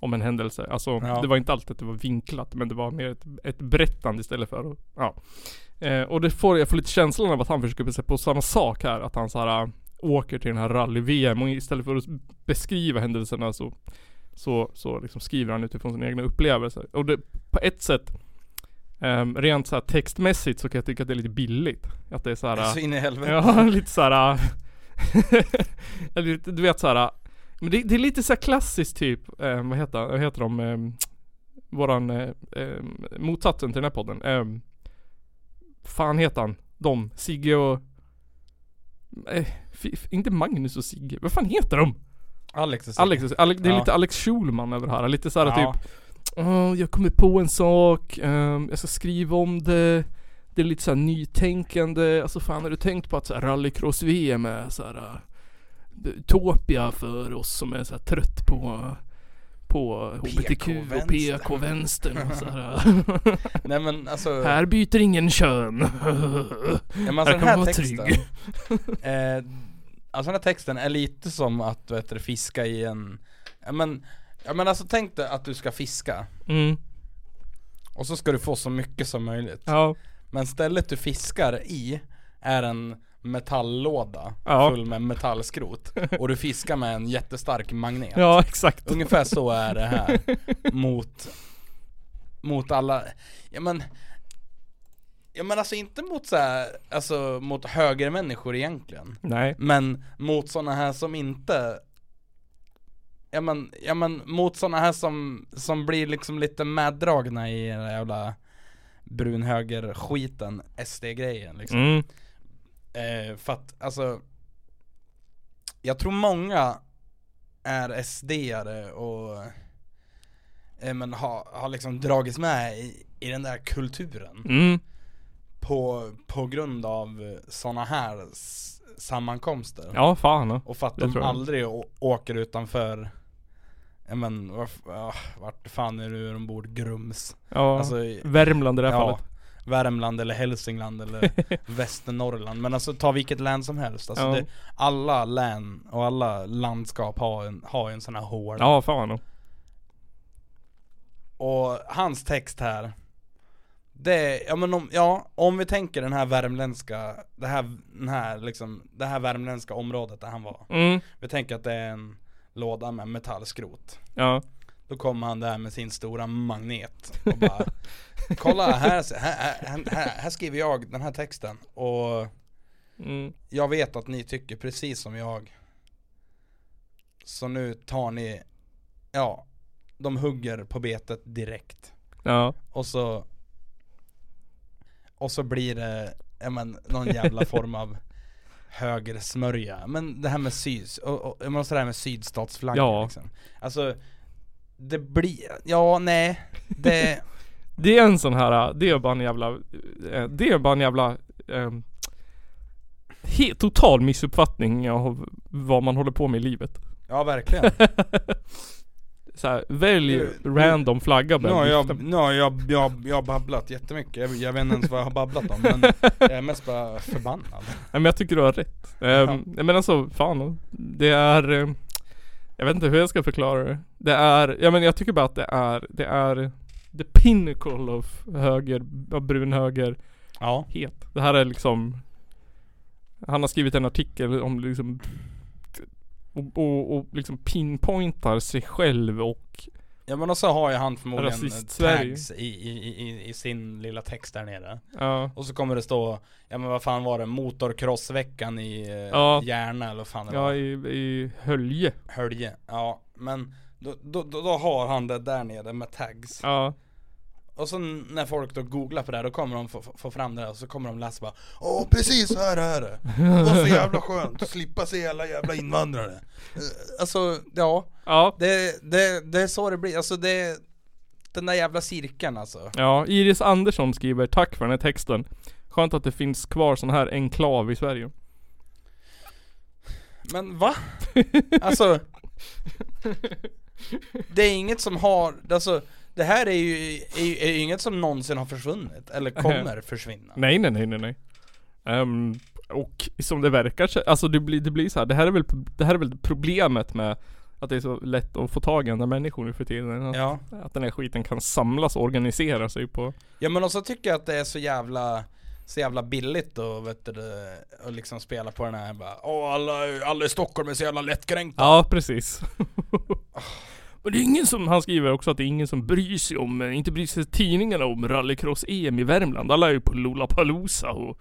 Speaker 1: om en händelse. Alltså
Speaker 2: Ja.
Speaker 1: det var inte alltid att det var vinklat men det var mer ett, ett berättande istället för att, ja. Eh, och det får, jag får lite känslan av att han försöker sig på samma sak här. Att han så här äh, åker till den här rally-VM och istället för att beskriva händelserna så, så, så liksom skriver han utifrån sina egna upplevelser. Och det, på ett sätt ehm, rent så här textmässigt så kan jag tycka att det är lite billigt. Att det är så här,
Speaker 2: Så in i helvete.
Speaker 1: Ja, <laughs> lite så här. äh, eller lite- du vet så här. äh, Men det, det är lite så här klassiskt typ, eh, vad heter, vad heter de? ehm, våran, eh, ehm, motsatsen till den här podden. ehm, fan heter han? De, Sigge och... Eh, fi- fi- inte Magnus och Sigge, vad fan heter de?
Speaker 2: Alex och Sigge.
Speaker 1: Alex, och- Alex det är
Speaker 2: Typ. Ja.
Speaker 1: lite Alex Schulman över det här, lite såhär
Speaker 2: Ja.
Speaker 1: typ "Åh, jag kommer på en sak, ehm, jag ska skriva om det Det är lite såhär nytänkande, alltså fan har du tänkt på att så här rallycross-VM är såhär eh, Utopia för oss som är såhär trött på på HBTQ och PK-vänstern och sådär.
Speaker 2: <laughs> Nej men alltså
Speaker 1: Här byter ingen kön.
Speaker 2: Ja, men alltså den här texten, eh, alltså den här texten är lite som att vet du, fiska i en, ja men, ja men alltså tänk dig att du ska fiska
Speaker 1: Mm.
Speaker 2: och så ska du få så mycket som möjligt.
Speaker 1: Ja.
Speaker 2: Men stället du fiskar i är en metalllåda
Speaker 1: Ja.
Speaker 2: full
Speaker 1: <laughs>
Speaker 2: med metallskrot och du fiskar med en jättestark magnet.
Speaker 1: Ja, exakt.
Speaker 2: Ungefär så är det
Speaker 1: <laughs>
Speaker 2: här mot, mot alla, ja men Ja men alltså inte mot så här, alltså mot högermänniskor egentligen
Speaker 1: Nej.
Speaker 2: Men mot sådana här som inte Ja men, ja men mot sådana här som, som blir liksom lite meddragna i den här jävla brunhöger-skiten, SD-grejen liksom
Speaker 1: Mm.
Speaker 2: eh, För att alltså Jag tror många är SD-are och eh, men har, har liksom dragits med i, i den där kulturen
Speaker 1: Mm.
Speaker 2: på, på grund av sådana här s- sammankomster.
Speaker 1: Ja, fan, ja.
Speaker 2: Och för att
Speaker 1: Det
Speaker 2: de
Speaker 1: tror jag.
Speaker 2: aldrig å- åker utanför, ja men varf, ja, vart fan är du de bor? Grums.
Speaker 1: Ja,
Speaker 2: Alltså,
Speaker 1: Värmland i det här fallet.
Speaker 2: Värmland eller
Speaker 1: <laughs>
Speaker 2: Hälsingland eller Västernorrland. Men alltså ta vilket län som helst. Alltså
Speaker 1: Ja.
Speaker 2: det, alla län och alla landskap har en, har en sån här hård.
Speaker 1: Ja, fan ja.
Speaker 2: Och hans text här Det, ja men om, ja, om vi tänker den här värmländska Det här, den här liksom, det här värmländska området där han var
Speaker 1: Mm.
Speaker 2: Vi tänker att det är en låda med metallskrot
Speaker 1: Ja.
Speaker 2: Då kommer han där med sin stora magnet och bara Kolla här, här, här, här, här skriver jag den här texten och jag vet att ni tycker precis som jag Så nu tar ni, ja, de hugger på betet direkt
Speaker 1: Ja.
Speaker 2: Och så Och så blir det, ja men
Speaker 1: <laughs>
Speaker 2: någon jävla form av högersmörja Men det här med sys, och, och, och det här med sydstatsflaggan
Speaker 1: Ja.
Speaker 2: liksom Alltså Det blir, ja nej Det
Speaker 1: Det är en sån här, det är bara en jävla, eh, det är bara en jävla eh, he, total missuppfattning av vad man håller på med i livet.
Speaker 2: <laughs>
Speaker 1: <laughs>
Speaker 2: Ja verkligen
Speaker 1: Så här, välj
Speaker 2: Eh, Nu- nu-
Speaker 1: random flagga
Speaker 2: Nu
Speaker 1: Ben.
Speaker 2: har
Speaker 1: Vifta
Speaker 2: jag, nu har jag, jag, jag har babblat jättemycket, jag, jag vet inte ens vad jag har babblat om men jag är mest bara förbannad
Speaker 1: Nej men jag tycker du har rätt. Ehm, nej, men alltså fan. Det är eh, Jag vet inte hur jag ska förklara det. Det är, ja men jag tycker bara att det är, det är The pinnacle of höger, av brun höger
Speaker 2: <laughs> ja.
Speaker 1: het. Det här är liksom Han har skrivit en artikel om liksom och, och, och liksom pinpointar sig själv och
Speaker 2: Ja men också har ju han förmodligen
Speaker 1: Rasist-Sverige.
Speaker 2: tags i, i, i, i sin lilla text där nere
Speaker 1: Ja.
Speaker 2: Och så kommer det stå, ja men vad fan var det, motorcrossveckan i eh,
Speaker 1: Ja.
Speaker 2: Järna eller vad fan det var
Speaker 1: Ja i, i Hölje.
Speaker 2: Hölje, ja men då, då, då, då har han det där nere med tags
Speaker 1: Ja.
Speaker 2: Och så när folk då googlar på det här då kommer de få, få- få fram det där och så kommer de läsa bara
Speaker 15: Åh precis så här är det. Det var så jävla skönt att slippa se alla jävla invandrare.
Speaker 2: Eh, Alltså, ja.
Speaker 1: ja.
Speaker 2: Det, det, det är så det blir. Alltså det den där jävla cirkeln alltså.
Speaker 1: Ja, Iris Andersson skriver Tack för den här texten Skönt att det finns kvar sån här enklav i Sverige
Speaker 2: Men va? Alltså. Det är inget som har, alltså det här är ju, är, ju- är ju inget som någonsin har försvunnit eller kommer försvinna.
Speaker 1: Nej nej nej nej nej Ehm, Och som det verkar så- alltså det blir, det blir så här, det här är väl, det här är väl problemet med Att det är så lätt att få tag i andra människor nu för tiden att,
Speaker 2: Ja.
Speaker 1: att den här skiten kan samlas och organisera sig på
Speaker 2: Ja men också tycker jag att det är så jävla så jävla billigt då vet du, det, att liksom spela på den här bara Åh alla, alla i Stockholm är så jävla lättkränkta
Speaker 1: Ja precis <laughs> Men det är ingen som, han skriver också att det är ingen som bryr sig om, eh, inte bryr sig tidningarna om rallycross-EM i Värmland. Alla är ju på Lollapalooza och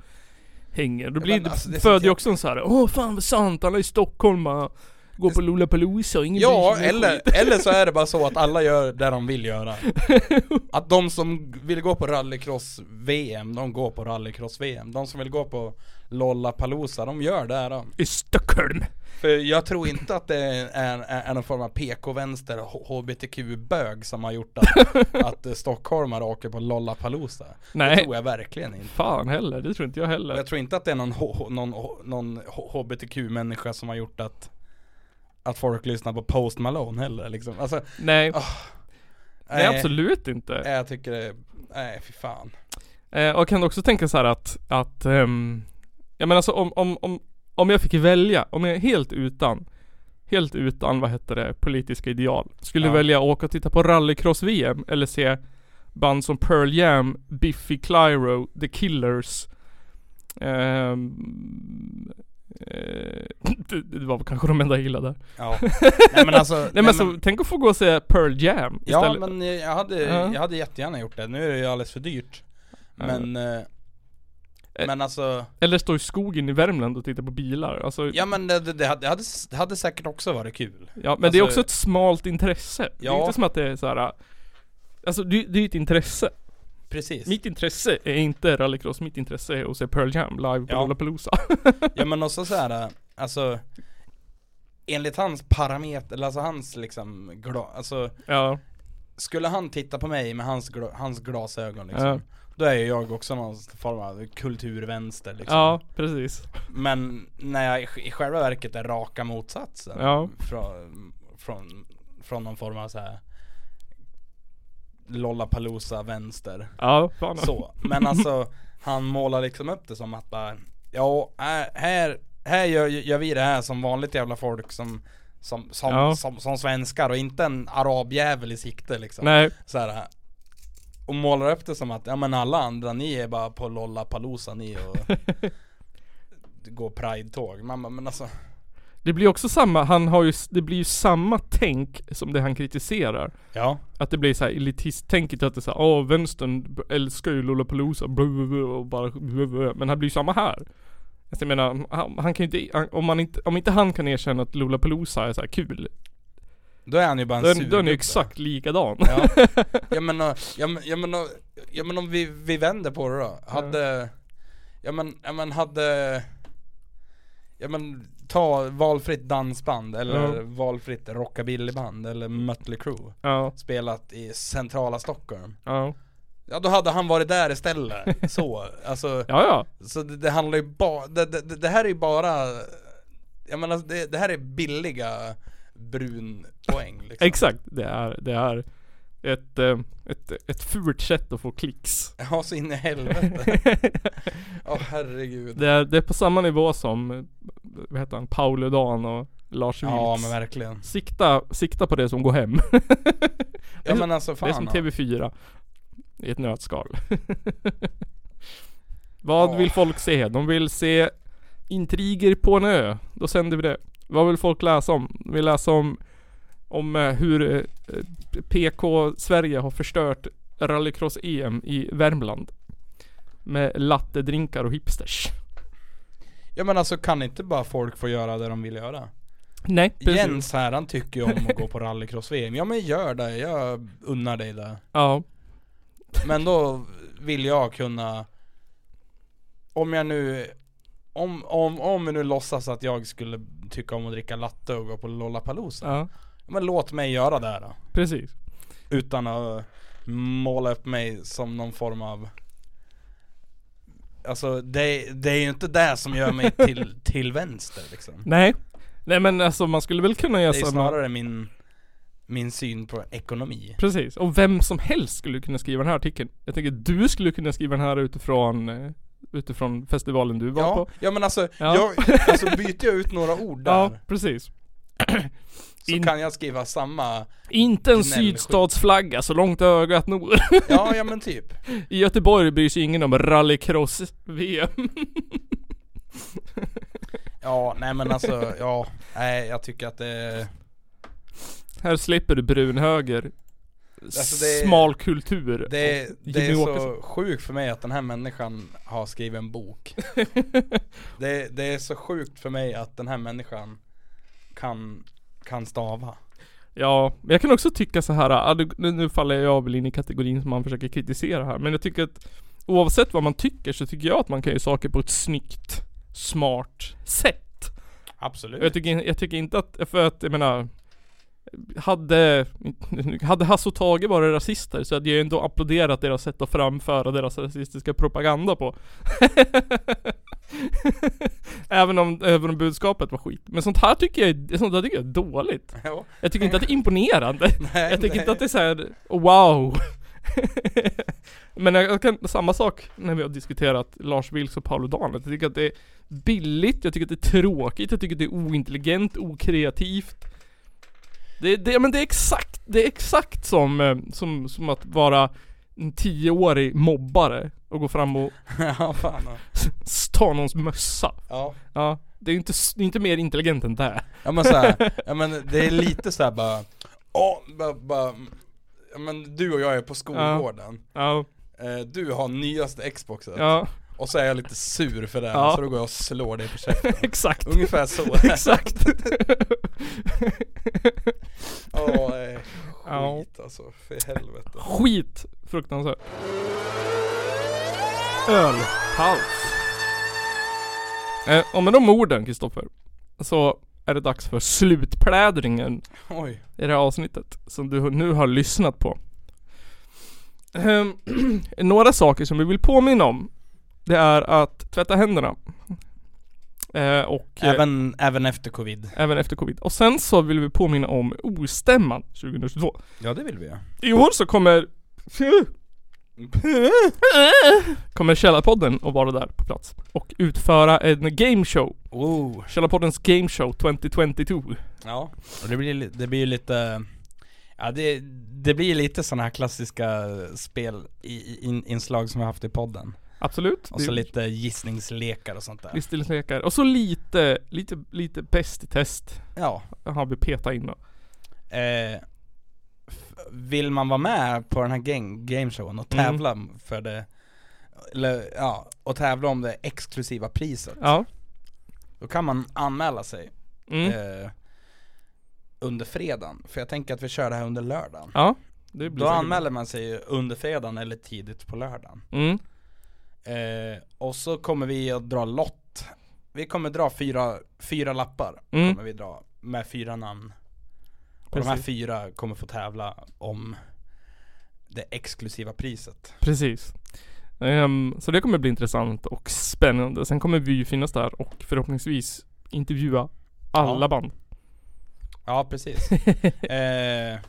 Speaker 1: hänger. Då blir,
Speaker 2: men
Speaker 1: det
Speaker 2: alltså, det är
Speaker 1: föder
Speaker 2: sånt
Speaker 1: ju också en så här. åh fan vad sant, alla i Stockholm bara går på Lollapalooza och ingen bryr
Speaker 2: Ja,
Speaker 1: sig om
Speaker 2: eller,
Speaker 1: <laughs> skit.
Speaker 2: eller så är det bara så att alla gör det de vill göra. Att de som vill gå på rallycross-VM, de går på rallycross-VM. De som vill gå på Lollapalooza, de gör det då.
Speaker 1: I Stockholm!
Speaker 2: För jag tror inte att det är, är, är någon form av PK-vänster, h- HBTQ-bög som har gjort
Speaker 1: <laughs>
Speaker 2: att, att eh, stockholmare åker på Lollapalooza. Det
Speaker 1: Nej.
Speaker 2: tror jag verkligen inte.
Speaker 1: Fan heller, det tror inte jag heller.
Speaker 2: Jag tror inte att det är någon, h- h- någon, h- någon h- HBTQ-människa som har gjort att att folk lyssnar på Post Malone heller liksom. alltså, eh,
Speaker 1: Nej.
Speaker 2: ah.
Speaker 1: Nej, absolut inte.
Speaker 2: Nej, jag tycker det, nej fy fan.
Speaker 1: Eh, och jag kan också tänka så här att, att ehm, jag menar alltså om, om, om, om jag fick välja, om jag är helt utan, helt utan vad heter det, politiska ideal. Skulle
Speaker 2: Ja.
Speaker 1: välja att åka och titta på rallycross-VM eller se band som Pearl Jam, Biffy Clyro, The Killers. Ehm, eh, <laughs> det- det var väl kanske de enda jag gillade. <laughs>
Speaker 2: Ja. Nej, men alltså-
Speaker 1: nej,
Speaker 2: nej,
Speaker 1: men, så,
Speaker 2: men-
Speaker 1: tänk att få gå och se Pearl Jam
Speaker 2: Ja
Speaker 1: istället.
Speaker 2: men jag hade,
Speaker 1: Ja.
Speaker 2: jag hade jättegärna gjort det, nu är det ju alldeles för dyrt. Men, eh,
Speaker 1: Eh.
Speaker 2: men alltså,
Speaker 1: Eller stå i skogen i Värmland och titta på bilar. Alltså,
Speaker 2: ja men det, det, det, hade, det hade, det hade säkert också varit kul.
Speaker 1: Ja men det är också
Speaker 2: Alltså,
Speaker 1: ett smalt intresse. Det är
Speaker 2: Ja.
Speaker 1: inte som att det är så här. Alltså det, det är ju ett intresse.
Speaker 2: Precis.
Speaker 1: Mitt intresse är inte rallycross, mitt intresse är att se Pearl Jam live på
Speaker 2: Ja.
Speaker 1: Lollapalooza. <laughs>
Speaker 2: Ja men också så här, alltså Enligt hans parameter, eller alltså hans liksom gla, alltså
Speaker 1: Ja.
Speaker 2: Skulle han titta på mig med hans, gla, hans glasögon liksom
Speaker 1: Ja.
Speaker 2: Då är ju jag också någon form av kulturvänster liksom
Speaker 1: Ja, precis.
Speaker 2: Men när jag i sj- i själva verket är raka motsatsen
Speaker 1: Ja.
Speaker 2: från, från, från någon form av så här Lollapalooza vänster
Speaker 1: Ja, fan.
Speaker 2: Så, men alltså han målar liksom upp det som att bara Ja, här- här, här gör, gör vi det här som vanligt jävla folk som som, som,
Speaker 1: Ja.
Speaker 2: som, som svenskar och inte en arabjävel i sikte liksom
Speaker 1: Nej.
Speaker 2: så här, Och målar upp det som att, ja men alla andra ni är bara
Speaker 1: <laughs>
Speaker 2: på Lollapalooza ni och Går pride-tåg, man bara, men alltså
Speaker 1: Det blir också samma, han har ju, s- det blir ju samma tänk som det han kritiserar.
Speaker 2: Ja.
Speaker 1: Att det blir så här elitisttänket att det är såhär, åh vänstern b- älskar ju Lollapalooza, blah, blah, blah, och bara blah, blah. Men han blir ju samma här. Alltså, Jag menar, han, han kan ju inte, han- om, man inte, om inte han kan erkänna att Lollapalooza är så här kul.
Speaker 2: Då är han ju bara en
Speaker 1: Då är-
Speaker 2: sur
Speaker 1: Då är han ju
Speaker 2: gubbe.
Speaker 1: exakt likadan.
Speaker 2: Ja. Jag menar, jag, men- jag menar, jag menar om vi, vi vänder på det då. Hade, jag men, jag men hade, jag men ta valfritt dansband eller
Speaker 1: Ja.
Speaker 2: valfritt rockabillyband eller Mötley Crüe.
Speaker 1: <laughs> Ja.
Speaker 2: Spelat i centrala Stockholm.
Speaker 1: Ja.
Speaker 2: Ja då hade han varit där
Speaker 1: <laughs>
Speaker 2: istället. Så, alltså.
Speaker 1: Ja, ja.
Speaker 2: Så det, det handlar ju bara, det, det, det här är ju bara, jag menar det, det här är billiga brunpoäng liksom.
Speaker 1: Exakt, det är, det är ett, eh, ett, ett fult sätt att få
Speaker 2: <laughs>
Speaker 1: klicks.
Speaker 2: Ja så in
Speaker 1: <laughs>
Speaker 2: i helvete. Åh herregud.
Speaker 1: Det är, det är på samma nivå som, eh, vad heter han, Paolo Dan och Lars Vilks.
Speaker 2: Ja, men verkligen.
Speaker 1: Sikta, sikta på det som går hem. <laughs> Det är
Speaker 2: men
Speaker 1: som-
Speaker 2: alltså,
Speaker 1: Det är
Speaker 2: fan,
Speaker 1: som
Speaker 2: ja.
Speaker 1: TV4. I ett nötskal. <laughs> Vad vill folk se? De vill se intriger på en ö. Då sänder vi det. Vad vill folk läsa om? De vill läsa om, om eh, hur eh, PK Sverige har förstört rallycross-EM i Värmland. Med lattedrinkar och hipsters.
Speaker 2: Ja men alltså kan inte bara folk få göra det de vill göra?
Speaker 1: Nej, precis.
Speaker 2: Jens här han tycker ju om att gå på rallycross-VM. Ja men gör det, jag unnar dig det.
Speaker 1: Ja.
Speaker 2: Men då vill jag kunna Om jag nu om, om, om vi nu låtsas att jag skulle tycka om att dricka latte och gå på Lollapalooza
Speaker 1: Ja.
Speaker 2: Men låt mig göra det här då
Speaker 1: Precis.
Speaker 2: Utan att måla upp mig som någon form av Alltså det, det är ju inte det som gör
Speaker 1: <laughs>
Speaker 2: mig till, till vänster liksom
Speaker 1: Nej. Nej men alltså man skulle väl kunna
Speaker 2: Det
Speaker 1: göra
Speaker 2: är
Speaker 1: samma-
Speaker 2: snarare min, min syn på ekonomi
Speaker 1: Precis, och vem som helst skulle kunna skriva den här artikeln. Jag tänker du skulle kunna skriva den här utifrån, eh, utifrån festivalen du var
Speaker 2: Ja,
Speaker 1: på.
Speaker 2: ja men alltså,
Speaker 1: Ja.
Speaker 2: Jag, alltså byter jag ut några ord
Speaker 1: <laughs>
Speaker 2: där
Speaker 1: Ja, precis.
Speaker 2: Så kan jag skriva samma
Speaker 1: Inte en
Speaker 2: gnällskit.
Speaker 1: sydstatsflagga så långt ögat når. <laughs>
Speaker 2: Ja, ja men typ
Speaker 1: I Göteborg bryr sig ingen om rallycross-VM.
Speaker 2: Ja, nej men alltså, ja Nej jag tycker att det
Speaker 1: Här slipper du brunhöger.
Speaker 2: Alltså, det är-
Speaker 1: Smal kultur.
Speaker 2: Det,
Speaker 1: och
Speaker 2: det är
Speaker 1: Jimmy
Speaker 2: så
Speaker 1: Åkesson.
Speaker 2: sjukt för mig att den här människan har skrivit
Speaker 1: <laughs>
Speaker 2: en bok det, det är så sjukt för mig att den här människan kan, kan stava
Speaker 1: Ja, men jag kan också tycka så här, ah, du- nu- nu faller jag väl in i kategorin som man försöker kritisera här, men jag tycker att oavsett vad man tycker så tycker jag att man kan göra saker på ett snyggt, smart sätt.
Speaker 2: Absolut
Speaker 1: Och Jag tycker, jag tycker inte att, för att jag menar hade, hade Hasse och Tage varit rasister så hade jag ändå applåderat deras sätt att framföra deras rasistiska propaganda på. <laughs> även, om, även om budskapet var skit. Men sånt här tycker jag, är- sånt här tycker jag är dåligt.
Speaker 2: Ja. <laughs>
Speaker 1: Jag tycker inte att det är imponerande.
Speaker 2: Nej,
Speaker 1: jag tycker
Speaker 2: nej.
Speaker 1: inte att det är så här, wow. <laughs> Men jag jag kan, samma sak när vi har diskuterat Lars Vilks och Paolo Dan. Jag tycker att det är billigt, jag tycker att det är tråkigt, jag tycker att det är ointelligent, okreativt. Det, det, men det är exakt, det är exakt som, eh, som, som att vara en tioårig mobbare och gå fram och
Speaker 2: Ja fan ja.
Speaker 1: s- ta någons mössa.
Speaker 2: Ja.
Speaker 1: ja det är ju inte, s- det är inte mer intelligent än det.
Speaker 2: Ja
Speaker 1: <laughs>
Speaker 2: men såhär, ja men det är lite såhär bara, åh, bara, bara ja, men du och jag är på skolgården
Speaker 1: Ja.
Speaker 2: Eh, Du har nyaste Xboxen
Speaker 1: Ja. <laughs>
Speaker 2: Och så är jag lite sur för det,
Speaker 1: Ja.
Speaker 2: så då går jag och slår dig på käften
Speaker 1: Exakt.
Speaker 2: Ungefär <laughs> så
Speaker 1: Exakt.
Speaker 2: Åh, eh,
Speaker 1: Ja.
Speaker 2: skit alltså, för helvete
Speaker 1: Skit! Fruktansvärt. Ölpaus. Eh, och med de orden Kristoffer, så är det dags för slutplädringen
Speaker 2: Oj.
Speaker 1: i det här avsnittet som du nu har lyssnat på. Ehm, <clears throat> Några saker som vi vill påminna om, det är att tvätta händerna. Eh, och, eh,
Speaker 2: Även, även efter covid
Speaker 1: även efter covid. Och sen så vill vi påminna om ostämman 2022.
Speaker 2: Ja det vill vi ja
Speaker 1: I år så
Speaker 2: <laughs>
Speaker 1: kommer Kommer Källarpodden att vara där på plats och utföra en gameshow.
Speaker 2: Oh.
Speaker 1: Källarpoddens gameshow 2022.
Speaker 2: Ja, och det blir, li- det blir lite Ja det, det blir lite sådana här klassiska spel i, i, in- inslag som vi haft i podden
Speaker 1: Absolut
Speaker 2: Och så
Speaker 1: Det-
Speaker 2: lite gissningslekar och sånt där
Speaker 1: Listelekar. Och så lite lite, lite, lite bäst i test.
Speaker 2: Ja.
Speaker 1: Han vill peta in då.
Speaker 2: Eh, f- vill man vara med på den här gang, gameshowen och tävla för det, eller ja, och tävla om det exklusiva priset.
Speaker 1: Ja.
Speaker 2: Då kan man anmäla sig
Speaker 1: Mm.
Speaker 2: eh, under fredagen, för jag tänker att vi kör det här under lördagen.
Speaker 1: Ja, det blir
Speaker 2: Då
Speaker 1: säkert
Speaker 2: anmäler man sig ju under fredagen eller tidigt på lördagen.
Speaker 1: Mm.
Speaker 2: Eh, och så kommer vi att dra lott. Vi kommer dra fyra, fyra lappar,
Speaker 1: Mm.
Speaker 2: kommer vi dra, med fyra namn. Och de här
Speaker 1: Precis.
Speaker 2: fyra kommer få tävla om det exklusiva priset.
Speaker 1: Precis. Ehm, så det kommer bli intressant och spännande. Sen kommer vi ju finnas där och förhoppningsvis intervjua alla
Speaker 2: Ja.
Speaker 1: band.
Speaker 2: Ja
Speaker 1: <laughs>
Speaker 2: precis. eh,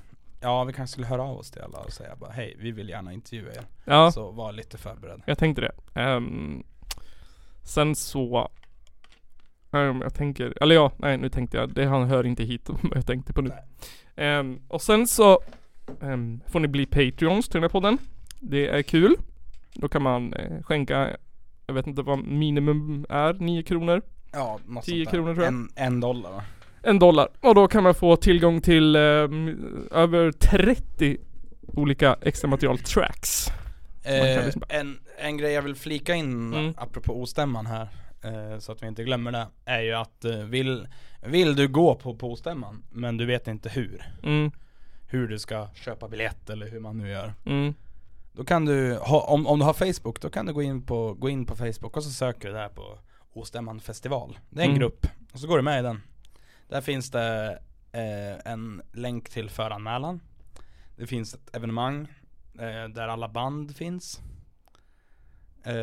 Speaker 2: ja vi kanske skulle höra av oss till alla och säga bara hej, vi vill gärna intervjua er.
Speaker 1: Ja.
Speaker 2: Så var lite förberedd.
Speaker 1: Jag tänkte det. Ehm, sen så ehm, jag tänker, eller ja, nej nu tänkte jag, det han hör inte hit <laughs> vad jag tänkte på nu. Ehm, och sen så ehm, får ni bli Patreons till den här podden. Det är kul. Då kan man eh, skänka, jag vet inte vad minimum är, 9 kronor.
Speaker 2: Ja, något
Speaker 1: 10
Speaker 2: sånt där.
Speaker 1: kronor tror jag.
Speaker 2: En, en dollar va?
Speaker 1: En dollar. Och då kan man få tillgång till ehm, över 30 olika extra material tracks. Man kan liksom Mm.
Speaker 2: Eh,
Speaker 1: lyssna på.
Speaker 2: en, en grej jag vill flika in apropå ostämman här eh, Så att vi inte glömmer det Är ju att eh, vill, vill du gå på, på ostämman Men du vet inte hur
Speaker 1: Mm.
Speaker 2: Hur du ska köpa biljett eller hur man nu gör
Speaker 1: Mm.
Speaker 2: Då kan du, ha, om, om du har Facebook då kan du gå in på, gå in på Facebook och så söker du där på Ostämman festival Det är en
Speaker 1: Mm.
Speaker 2: grupp och så går du med i den Där finns det eh, en länk till föranmälan Det finns ett evenemang eh, där alla band finns Eh,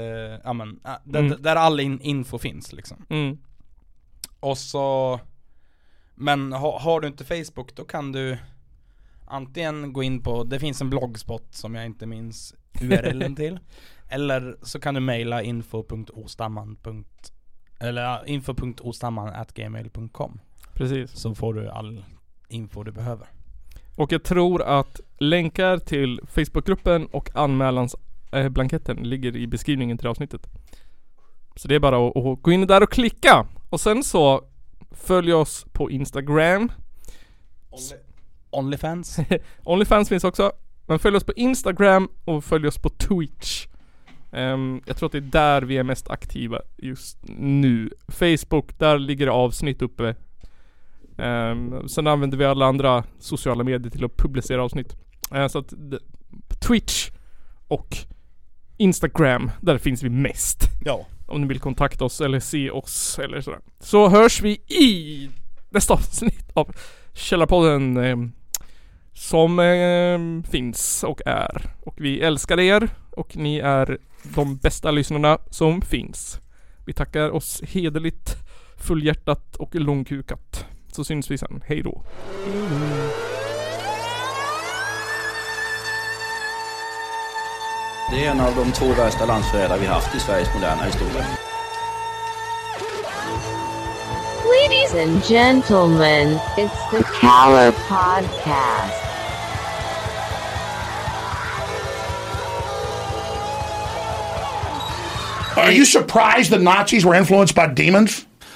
Speaker 2: ja men, ah, där,
Speaker 1: Mm.
Speaker 2: där all in, info finns liksom
Speaker 1: Mm.
Speaker 2: Och så Men ha, har du inte Facebook då kan du Antingen gå in på, det finns en bloggspot som jag inte minns URLen till Eller så kan du mejla info.ostamman. punkt- Eller ja, info.ostamman.gmail.com
Speaker 1: Precis.
Speaker 2: Så får du all info du behöver
Speaker 1: Och jag tror att länkar till Facebookgruppen och anmälansblanketten ligger i beskrivningen till avsnittet. Så det är bara att, att gå in där och klicka. Och sen så följ oss på Instagram.
Speaker 2: Onlyfans.
Speaker 1: Onlyfans finns också. Men följ oss på Instagram och följ oss på Twitch. Ehm, jag tror att det är där vi är mest aktiva just nu. Facebook, där ligger det avsnitt uppe. Ehm, sen använder vi alla andra sociala medier till att publicera avsnitt. Eh, så att d- Twitch och Instagram, där finns vi mest.
Speaker 2: Ja.
Speaker 1: Om ni vill kontakta oss eller se oss eller sådär. Så hörs vi i nästa avsnitt av Källarpodden. ehm, som ehm, finns och är. Och vi älskar er och ni är de bästa lyssnarna som finns. Vi tackar oss hederligt, fullhjärtat och långkukat. Så syns vi sen. Hej då.
Speaker 3: Det är en av de två värsta landsförrädare vi haft i Sveriges moderna historia.
Speaker 4: Ladies and gentlemen, it's the Caller Podcast.
Speaker 16: Are you surprised the Nazis were influenced by demons?